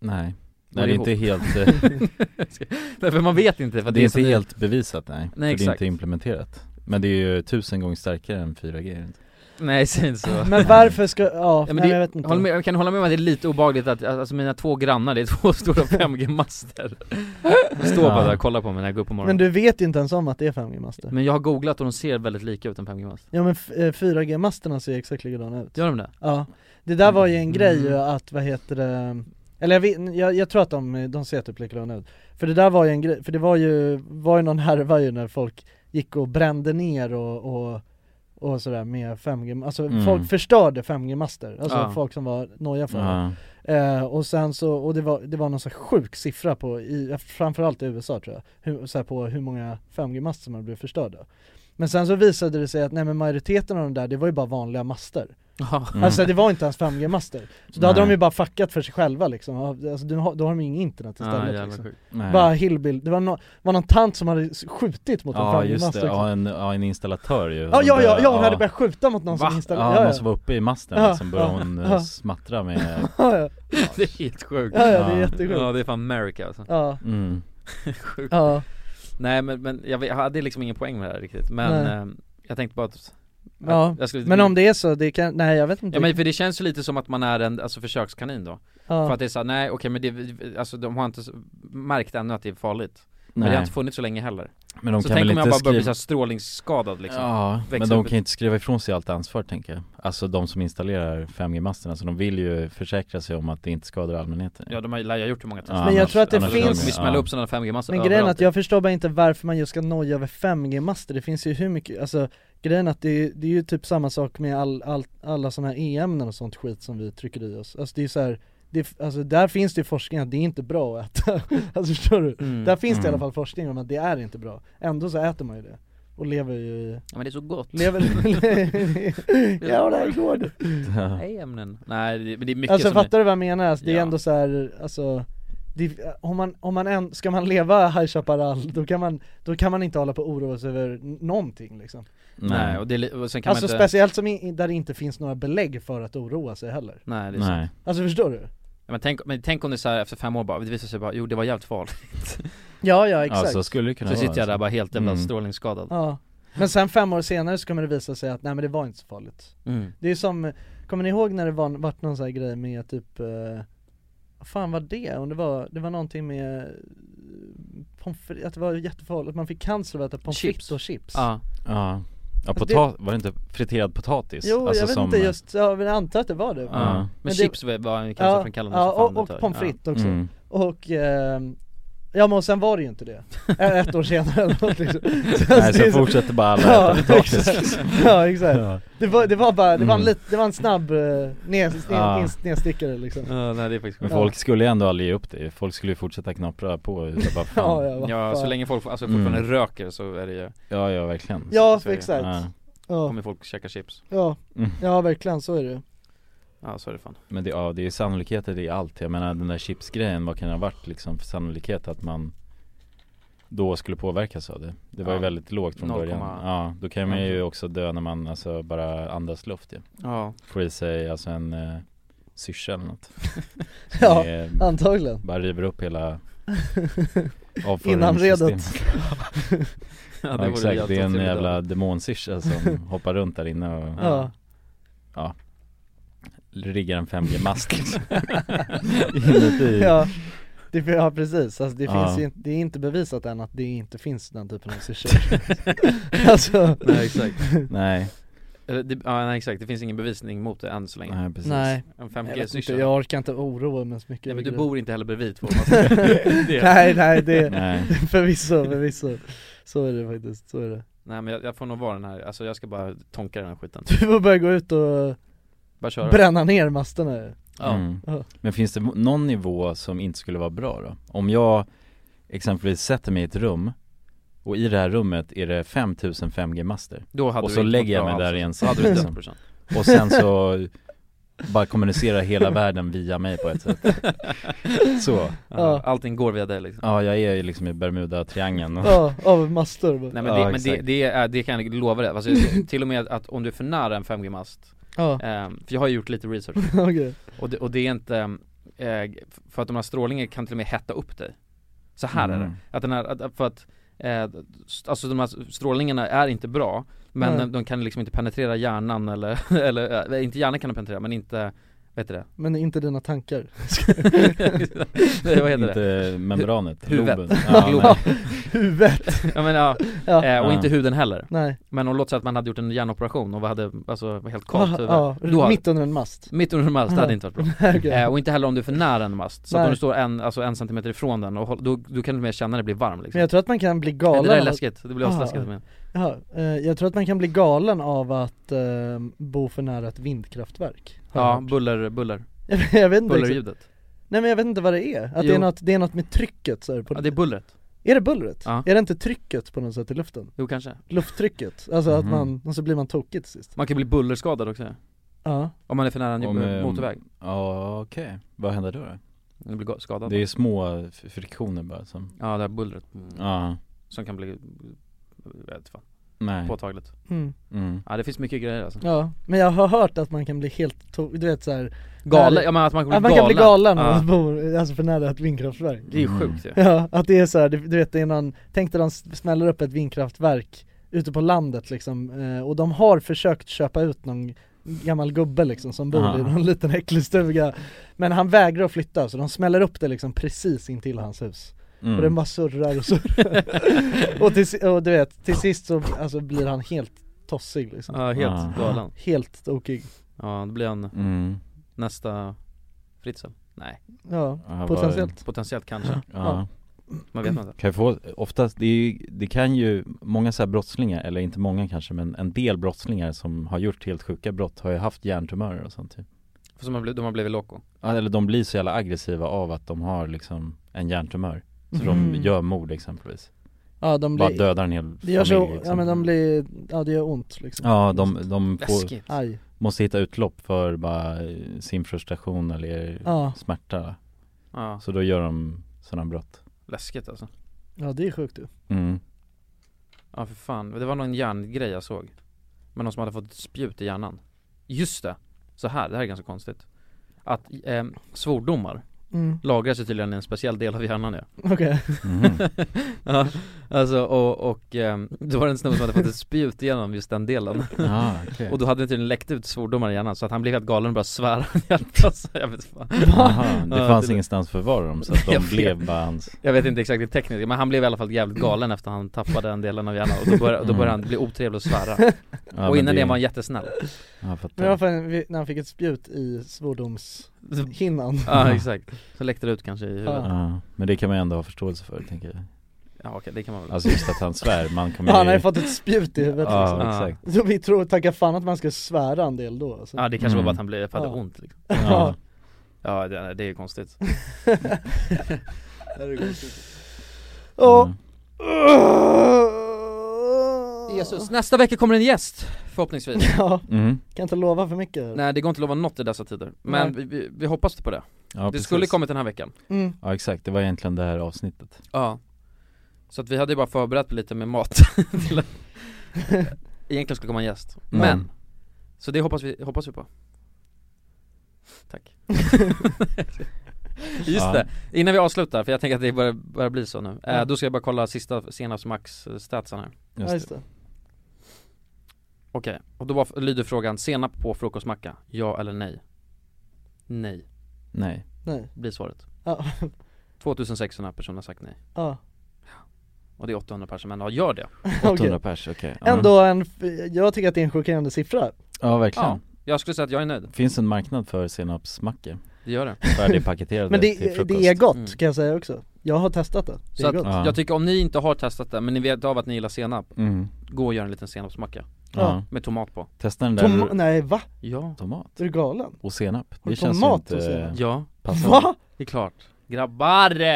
A: Nej.
D: Går
A: Nej, det är
D: ihop.
A: inte helt... eh,
D: Nej för man vet inte för
A: det är
D: så
A: inte
D: ny-
A: helt bevisat nej. för
D: Nej
A: Det är
D: exakt
A: inte implementerat. Men det är ju tusen gånger starkare än 4G. är det inte?
D: Nej säg inte så
E: Men varför ska, ja,
D: Ja,
E: nej,
D: det,
E: jag vet inte
D: håller med, jag kan hålla med om att det är lite obehagligt att, alltså mina två grannar, det är två stora 5G-master De står bara där och kollar på mig när jag går upp på morgonen
E: Men
D: men,
E: du vet ju inte ens om att det är 5G-master
D: jag har googlat och de ser väldigt lika ut en 5G-mast
E: Ja men f- eh, 4G-masterna ser exakt likadana ut
D: Gör de det?
E: Ja, det där var ju en grej ju
D: Mm.
E: att, vad heter det, eller jag, vet, jag, jag tror att de, de ser typ likadana ut För det där var ju en grej, för det var ju, var ju någon härva ju när folk gick och brände ner och, och och sådär med 5G, alltså
A: Mm.
E: folk förstörde 5G-master, alltså
A: Ja.
E: folk som var noja för det
A: Ja.
E: Eh, och sen så, och det var, det var någon så här sjuk siffra på, i, framförallt i USA tror jag, hur, så här på hur många 5G-master som hade blivit förstörda. Men sen så visade det sig att nej men majoriteten av de där, det var ju bara vanliga master.
D: Ja.
E: Alltså det var inte ens 5G-master. Så då hade
A: Nej.
E: de ju bara fuckat för sig själva liksom, alltså, då har, då har de ju inget internet
A: Ja,
E: istället
A: jävla
E: liksom.
A: sjukt. Nej.
E: Bara hillbill, det var, no, var någon tant som hade skjutit mot en
A: Ja
E: 5G-master
A: just det,
E: liksom.
A: ja en, ja, en installatör ju
E: Ja, ja, ja, ja, hon hade börjat skjuta mot någon som installerade-
A: ja,
E: ja, ja.
A: någon som var uppe i masten
E: Ja,
A: liksom, började
E: ja,
A: hon eh,
E: ja.
A: smattra med
E: Ja, ja.
D: Det är helt sjukt
E: Ja, ja, det är jättesjukt.
D: Ja det är fan America alltså
E: Ja.
A: Mm.
D: Sjukt
E: Ja.
D: Nej men, men jag, vet- jag hade liksom ingen poäng med det här riktigt men
E: Nej.
D: ehm, jag tänkte bara att
E: Ja,
D: att jag skulle-
E: men om det är så, det kan, nej jag vet inte
D: Ja men för det känns ju lite som att man är en, alltså försökskanin då
E: Ja.
D: För att det är såhär, nej okej men det, alltså de har inte s- märkt ännu att det är farligt Men det
A: Nej.
D: har inte funnits så länge heller
A: Men de
D: Så
A: kan
D: tänk
A: väl
D: om jag
A: inte
D: bara börjar bli
A: skriva-
D: såhär strålningsskadad liksom
A: Ja, men
D: Växer
A: de
D: upp
A: kan ju inte skriva ifrån sig allt ansvar tänker jag Alltså de som installerar 5G-masterna, så de vill ju försäkra sig om att det inte skadar allmänheten
D: Ja de har ju lär ju ha gjort det många tusen
A: Ja,
E: Men jag tror att det
A: annars-
E: finns-
D: De kommer ju smälla upp sådana 5G-master
E: Men grejen är
D: överallt.
E: att jag förstår bara inte varför man just ska noja över 5G-master, det finns ju hur mycket, alltså grejen är att det är, det är ju typ samma sak med all, all, alla sådana här e-ämnen och sånt skit som vi trycker i oss, alltså det är så här, det, alltså där finns det ju forskning att det är inte bra att äta, alltså förstår du?
D: Mm.
E: Där finns det i alla
D: Mm.
E: fall forskning om att det är inte bra, ändå så äter man ju det och lever ju i
D: Ja men det är så gott
E: Lever, ja det är gott!
D: Nej ämnen, nej det, men det är mycket
E: Alltså
D: som
E: fattar du vad jag menar? Alltså, det är
D: Ja.
E: ändå så här, alltså det, om man, om man än, ska man leva High Chaparral då kan man, då kan man inte hålla på och oroa sig över n- någonting liksom
D: Nej och, det, är li- och sen kan
E: Alltså
D: man inte
E: speciellt som i, där det inte finns några belägg för att oroa sig heller
D: Nej det är
A: Nej.
D: sant
E: Alltså förstår du?
D: Ja, men, tänk, men tänk om det är så här efter fem år bara, det visar sig bara, jo det var jävligt farligt
E: Ja, ja, exakt. Ja, så
A: skulle det kunna
D: Så
A: vara,
D: sitter jag där
A: alltså.
D: bara helt jävla
A: Mm.
D: strålningsskadad
E: Ja Men sen fem år senare så kommer det visa sig att nej men det var inte så farligt
D: Mm.
E: Det är som, kommer ni ihåg när det var, vart någon sån här grej med typ eh, vad fan var det? Om det var, det var någonting med eh, pommes frites, att det var jättefarligt, man fick cancer av att äta pommes frites och chips
D: Ja
A: Ja, ja
E: Alltså,
A: pota- var det inte friterad potatis?
E: Jo,
A: Alltså,
E: jag vet
A: som-
E: inte just, ja, men jag antar att det var det
A: Ja. Men
D: chips var- var en cancerframkallande
E: ja,
D: som fan
E: och,
D: det
E: och
D: tar.
E: pommes frites
D: Ja.
E: också
D: Mm.
E: Och, ehm, ja men och sen var det ju inte det, Ä- ett år senare eller något liksom
A: Nej,
E: alltså,
A: så
E: det är
A: fortsätter bara alla
E: ja,
A: äta potatis,
E: exakt.
A: liksom.
E: Ja exakt,
A: Ja.
E: Det, var, det var bara, det var en,
A: Mm.
E: lit, det var en snabb eh, ned, ned,
A: Ja.
E: ned, nedstickare liksom
D: Ja, nej, det är faktiskt
A: Men
E: Ja.
A: folk skulle ju ändå aldrig ge upp det, folk skulle ju fortsätta knappra på utan bara fan.
E: Ja, ja, vad
D: Ja, så
E: fan.
D: länge folk alltså fortfarande
A: Mm.
D: röker så är det ju
A: Ja, ja verkligen
E: Ja,
D: Så är det.
E: exakt.
A: Ja.
E: Ja.
D: Kommer folk käka chips
E: Ja,
A: Mm.
E: ja verkligen så är det
D: Ja så är det fan
A: Men det, ja, det är ju sannolikheter i allt, jag menar den där chipsgrejen, vad kan det ha varit liksom för sannolikhet att man då skulle påverkas av det? Det var ju
D: Ja.
A: väldigt lågt från
D: 0,1.
A: början Ja, då kan man ju också dö när man alltså bara andas luft ju
D: Ja.
A: Får i sig alltså en eh, syrsa eller något
E: Ja,
A: Det är-
E: antagligen.
A: Bara river upp hela
E: Innanredet.
A: avföringssystemet.
E: Ja,
A: ja,
E: det vore
A: exakt, det är en
E: jätteotroligt
A: jävla
E: dåligt.
A: demonsyrsa som hoppar runt där inne och
E: Ja.
A: ja riggar en 5G-mast liksom. Inuti
E: Ja, det, ja precis, alltså det,
A: Ja.
E: finns ju, inte- det är inte bevisat än att det inte finns den typen av syrsor Alltså
D: Nej exakt
A: Nej
D: Eller, det, Ja nej exakt, det finns ingen bevisning mot det än så länge
A: Nej,
E: Nej,
D: En
E: jag, vet
D: 5G-syrsa
E: inte, jag orkar inte oroa mig så mycket
D: Nej men
E: över
D: du
E: grejer.
D: bor inte heller bredvid två Det-
E: Nej nej det,
D: Nej.
E: förvisso, förvisso Så är det faktiskt, så är det
D: Nej men jag, jag får nog vara den här, alltså jag ska bara tonka den här skiten
E: Du får börja gå ut och
D: Bara köra
E: bränna ner masterna ju.
A: Ja. Mm. Men finns det någon nivå som inte skulle vara bra då? Om jag exempelvis sätter mig i ett rum och i det här rummet är det 5000 5G master
D: Då hade
A: Och
D: du
A: så
D: inte
A: lägger jag
D: fått
A: mig
D: bra
A: där i en
D: alls.
A: säng
D: Då hade du inte
A: liksom.
D: fått bra.
A: Och sen så bara kommunicera hela världen via mig på ett sätt Så
D: Ja. Allting går via dig liksom
A: Ja jag är ju liksom i Bermuda-triangeln och-
E: Ja, av master bara.
D: Nej men,
A: Ja,
D: det, men det,
A: exakt.
D: det, är, det kan jag lova dig, alltså, jag- till och med att om du är för nära en 5G-mast
E: Ja.
D: ehm, För jag har ju gjort lite research
E: Okej.
D: och, det, och det är inte, eh, för att de här strålningen kan till och med hetta upp dig Så här är
A: Mm.
D: det, att den här, att, för att eh, st- Alltså de här strålningarna är inte bra Men
E: Nej.
D: de, de kan liksom inte penetrera hjärnan eller, eller, eh, inte hjärnan kan de penetrera men inte, vet du det?
E: Men inte dina tankar
D: Nej, vad heter det?
A: Inte membranet,
D: Huvudet.
A: loben. Ja,
D: Globen.
A: nej.
E: Huvudet.
D: ja men ja,
E: Ja.
D: Eh, och
E: Ja.
D: inte huden heller
E: Nej.
D: Men om låt säga att man hade gjort en hjärnoperation och vad hade, alltså var helt kallt
E: Ah,
D: huvud
E: ja,
D: Då hade-
E: mitt under en mast.
D: Mitt under en mast, det hade
E: Ja.
D: inte varit bra
E: Nej, okej.
D: eh, Och inte heller om du är för nära en mast, så att
E: Nej.
D: om du står en, alltså en centimeter ifrån den och håll, då, då kan du mer känna det blir varm liksom
E: Men jag tror att man kan bli galen
D: Nej, det där är
E: av att-
D: läskigt, det blir också
E: Ah,
D: läskigt men
E: Ja, eh, jag tror att man kan bli galen av att eh, bo för nära ett vindkraftverk Har jag
D: Ja,
E: hört.
D: buller, buller
E: Jag vet inte
D: Bullerljudet
E: exakt- Nej men jag vet inte vad det är, att det
D: Jo.
E: är, något, det är något med trycket så här, på
D: Ja, det är bullret
E: Är det bullret?
D: Ja.
E: Är det inte trycket på något sätt i luften?
D: Jo kanske
E: Lufttrycket, alltså att
D: Mhm.
E: man, och så blir man tokig till sist
D: Man kan bli bullerskadad också
E: Ja.
D: Om man är för nära en
A: Om, eh,
D: motorväg
A: Ja okej, vad händer då? då?
D: Du blir skadad
A: Det är små f- friktioner bara som
D: Ja det här bullret mm,
A: Ja.
D: Som kan bli, jag vet inte fan
A: Nej.
D: Påtagligt
E: Mm.
A: Mm.
D: Ja det finns mycket grejer alltså
E: Ja, men jag har hört att man kan bli helt to- du vet såhär
D: Galen, ja, men att man kan bli
E: kan bli
D: galen.
E: galen av
D: Ja.
E: att bo, alltså för nära ett vindkraftverk
D: Det är ju sjukt ju.
E: Ja, att det är såhär, du du vet det är någon, tänk dig de s- smäller upp ett vindkraftverk ute på landet liksom, eh, och de har försökt köpa ut någon gammal gubbe liksom som bor
A: Ja.
E: i någon liten äcklig stuga Men han vägrar att flytta så de smäller upp det liksom precis intill hans hus
A: Mm.
E: Och den bara surrar och surrar och, till, si- och du vet, till sist så alltså, blir han helt tossig liksom
D: Ja, helt Ah. galen.
E: Helt tokig
D: Ja, då blir han
A: Mm.
D: nästa Fritzl? Nej
E: Ja, Ja, potentiellt.
A: vad-
D: Potentiellt kanske
A: Ja.
D: Man
E: Mm.
D: vet inte
A: Kan jag få, oftast, det, är ju, det kan ju, många så här brottslingar, eller inte många kanske men en del brottslingar som har gjort helt sjuka brott har ju haft hjärntumörer och sånt typ
D: För som har blivit, de har blivit loco
A: Ja, Eller de blir så jävla aggressiva av att de har liksom en hjärntumör Så
E: Mhm.
A: de gör mord exempelvis
E: Ja de
A: Bara
E: blir
A: dödar en hel
E: Det gör så,
A: familj, liksom.
E: ja men de blir, ja det gör ont liksom
A: Ja, de, de
E: Läskigt.
A: får,
E: Aj.
A: måste hitta utlopp för bara eh, sin frustration eller
E: Ja.
A: smärta
D: Ja.
A: Så då gör de sådana brott
D: Läskigt alltså
E: Ja det är sjukt du
A: mm.
D: Ja för fan, det var någon hjärngrej jag såg Men någon som hade fått ett spjut i hjärnan Just det! Så här, det här är ganska konstigt Att eh, svordomar
E: Mm.
D: lagras ju tydligen i en speciell del av hjärnan ja
E: Okej.
A: Mhm.
D: Ja, alltså och, och ehm, då var det en snubbe som hade fått ett spjut igenom just den delen
A: Ah, okej.
D: Och då hade det tydligen läckt ut svordomar i hjärnan så att han blev helt galen och började svära hjärtat alltså, jag vet fan
A: Aha, det
D: Ja,
A: fanns
D: tydligen.
A: ingenstans att förvara dem så att de
D: Jag vet.
A: blev bara hans
D: Jag vet inte exakt det tekniska, men han blev i alla fall jävligt
A: Mm.
D: galen efter han tappade den delen av hjärnan och då började, då började han bli otrevlig och svära
A: Ja,
D: Och
A: men
D: innan det
A: det-
D: var han jättesnäll
A: Ja,
E: Men varför, när han fick ett spjut i svordomshinnan
D: Ja exakt, så läckte det ut kanske i huvudet
A: ja. Men det kan man ju ändå ha förståelse för tänker jag
D: Ja okej, det kan man väl
A: Alltså just att han svär, man kommer
E: Ja, han har ju fått ett spjut i huvudet
A: Ja
E: liksom.
A: exakt
E: Så vi tror, tacka fan att man ska svära en del då alltså.
D: Ja det kanske var bara att han blev, för att det hade ont liksom
E: Ja.
D: Ja det, det är ju konstigt
A: Mm.
E: Ja.
D: Jesus, nästa vecka kommer en gäst förhoppningsvis
E: Ja,
A: Mm.
E: kan inte lova för mycket
D: Nej det går inte att lova något i dessa tider, men vi, vi, vi hoppas på det
A: Ja,
D: Det
A: precis.
D: skulle kommit den här veckan
E: Mm.
A: Ja exakt, det var egentligen det här avsnittet
D: Ja Så att vi hade ju bara förberett lite med mat till- Egentligen skulle komma en gäst,
A: Mm.
D: men Så det hoppas vi, hoppas vi på Tack Just
A: Ja.
D: det, innan vi avslutar, för jag tänker att det börjar, börjar bli så nu eh, Då ska jag bara kolla sista, senast max eh, statsen här
E: Just Ja, just det. det.
D: Okej, och då var, lyder frågan senap på frukostmacka, ja eller nej? Nej
A: Nej
E: Nej.
D: Blir svaret
E: Ja.
D: 2600 personer har sagt nej
E: Ja.
D: Och det är 800 personer, men ja, gör det
A: 800 pers, okej Ja.
E: Ändå en, f- jag tycker att det är en chockerande siffra
A: Ja verkligen
D: Ja, jag skulle säga att jag är nöjd
A: Finns en marknad för senapsmackor?
D: Det gör det
A: Färdigpaketerade
E: Men
A: till
E: det,
A: frukost
E: det är gott
D: Mm.
E: kan jag säga också Jag har testat det, det
D: Så
E: är
D: att,
E: gott
D: jag tycker om ni inte har testat det, men ni vet av att ni gillar senap
A: Mm.
D: Gå och gör en liten senapsmacka
A: Ja.
D: Med tomat på
A: Testa den där
E: Tom- nej va?
D: Ja
A: Tomat
E: Är du galen?
A: och senap
E: Har
A: Det
E: du
A: känns ju
E: tomat
A: inte
E: och senap?
D: Ja
A: passande
E: Va?
D: Det är klart Grabbar!
E: Det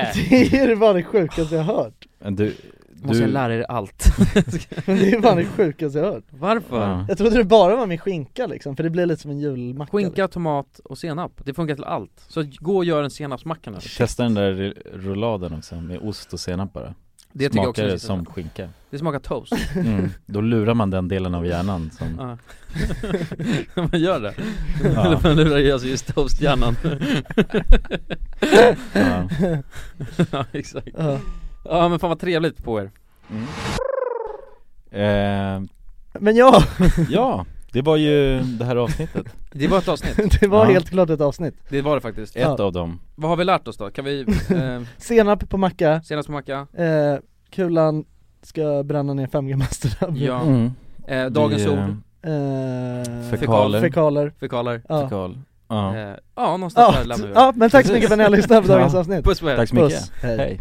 E: är det bara det sjukaste jag hört
A: Men du, du
D: Måste jag lära er allt
E: Men det är fan det sjukaste jag hört
D: Varför?
A: Ja.
E: Jag trodde det bara var med skinka liksom, för det blir lite som en julmacka liksom.
D: Skinka, tomat och senap, det funkar till allt Så gå och gör en senapsmacka nu
A: Testa den där rulladen också med ost och senap bara
D: Det tycker jag också
A: Smakar det
D: känns
A: som
D: bra.
A: skinka
D: Det smakar toast
A: mm. Då lurar man den delen av hjärnan som
D: Ja. man gör det
A: Ja.
D: Eller man lurar ju alltså just toasthjärnan
A: Ja.
D: Ja exakt
E: Ja.
D: Ja men fan vad trevligt på er
A: eh,
E: Men ja,
A: Ja, det var ju det här avsnittet
D: Det var ett avsnitt,
E: det var
A: Ja.
E: helt klart ett avsnitt
D: det var det faktiskt
A: Ett
E: Ja.
A: av dem
D: Vad har vi lärt oss då? Kan vi, eh,
E: Senap på macka,
D: senast macka,
E: eh, kulan ska bränna ner 5G-masterna
D: ja, Mm.
A: mm.
D: eh, dagens
A: Vi, eh,
D: ord,
E: eh,
A: Fekaler.
E: Fekaler
D: fekaler
E: Ja,
A: Skal. Ja.
D: eh, Ja någonstans
E: ja,
D: där lämnar vi
E: ja men tack så
A: Precis.
E: mycket för att ni har lyssnat på dagens
A: Ja.
E: avsnitt
D: Puss på er!
A: Tack så mycket,
E: Puss. Hej.
A: hej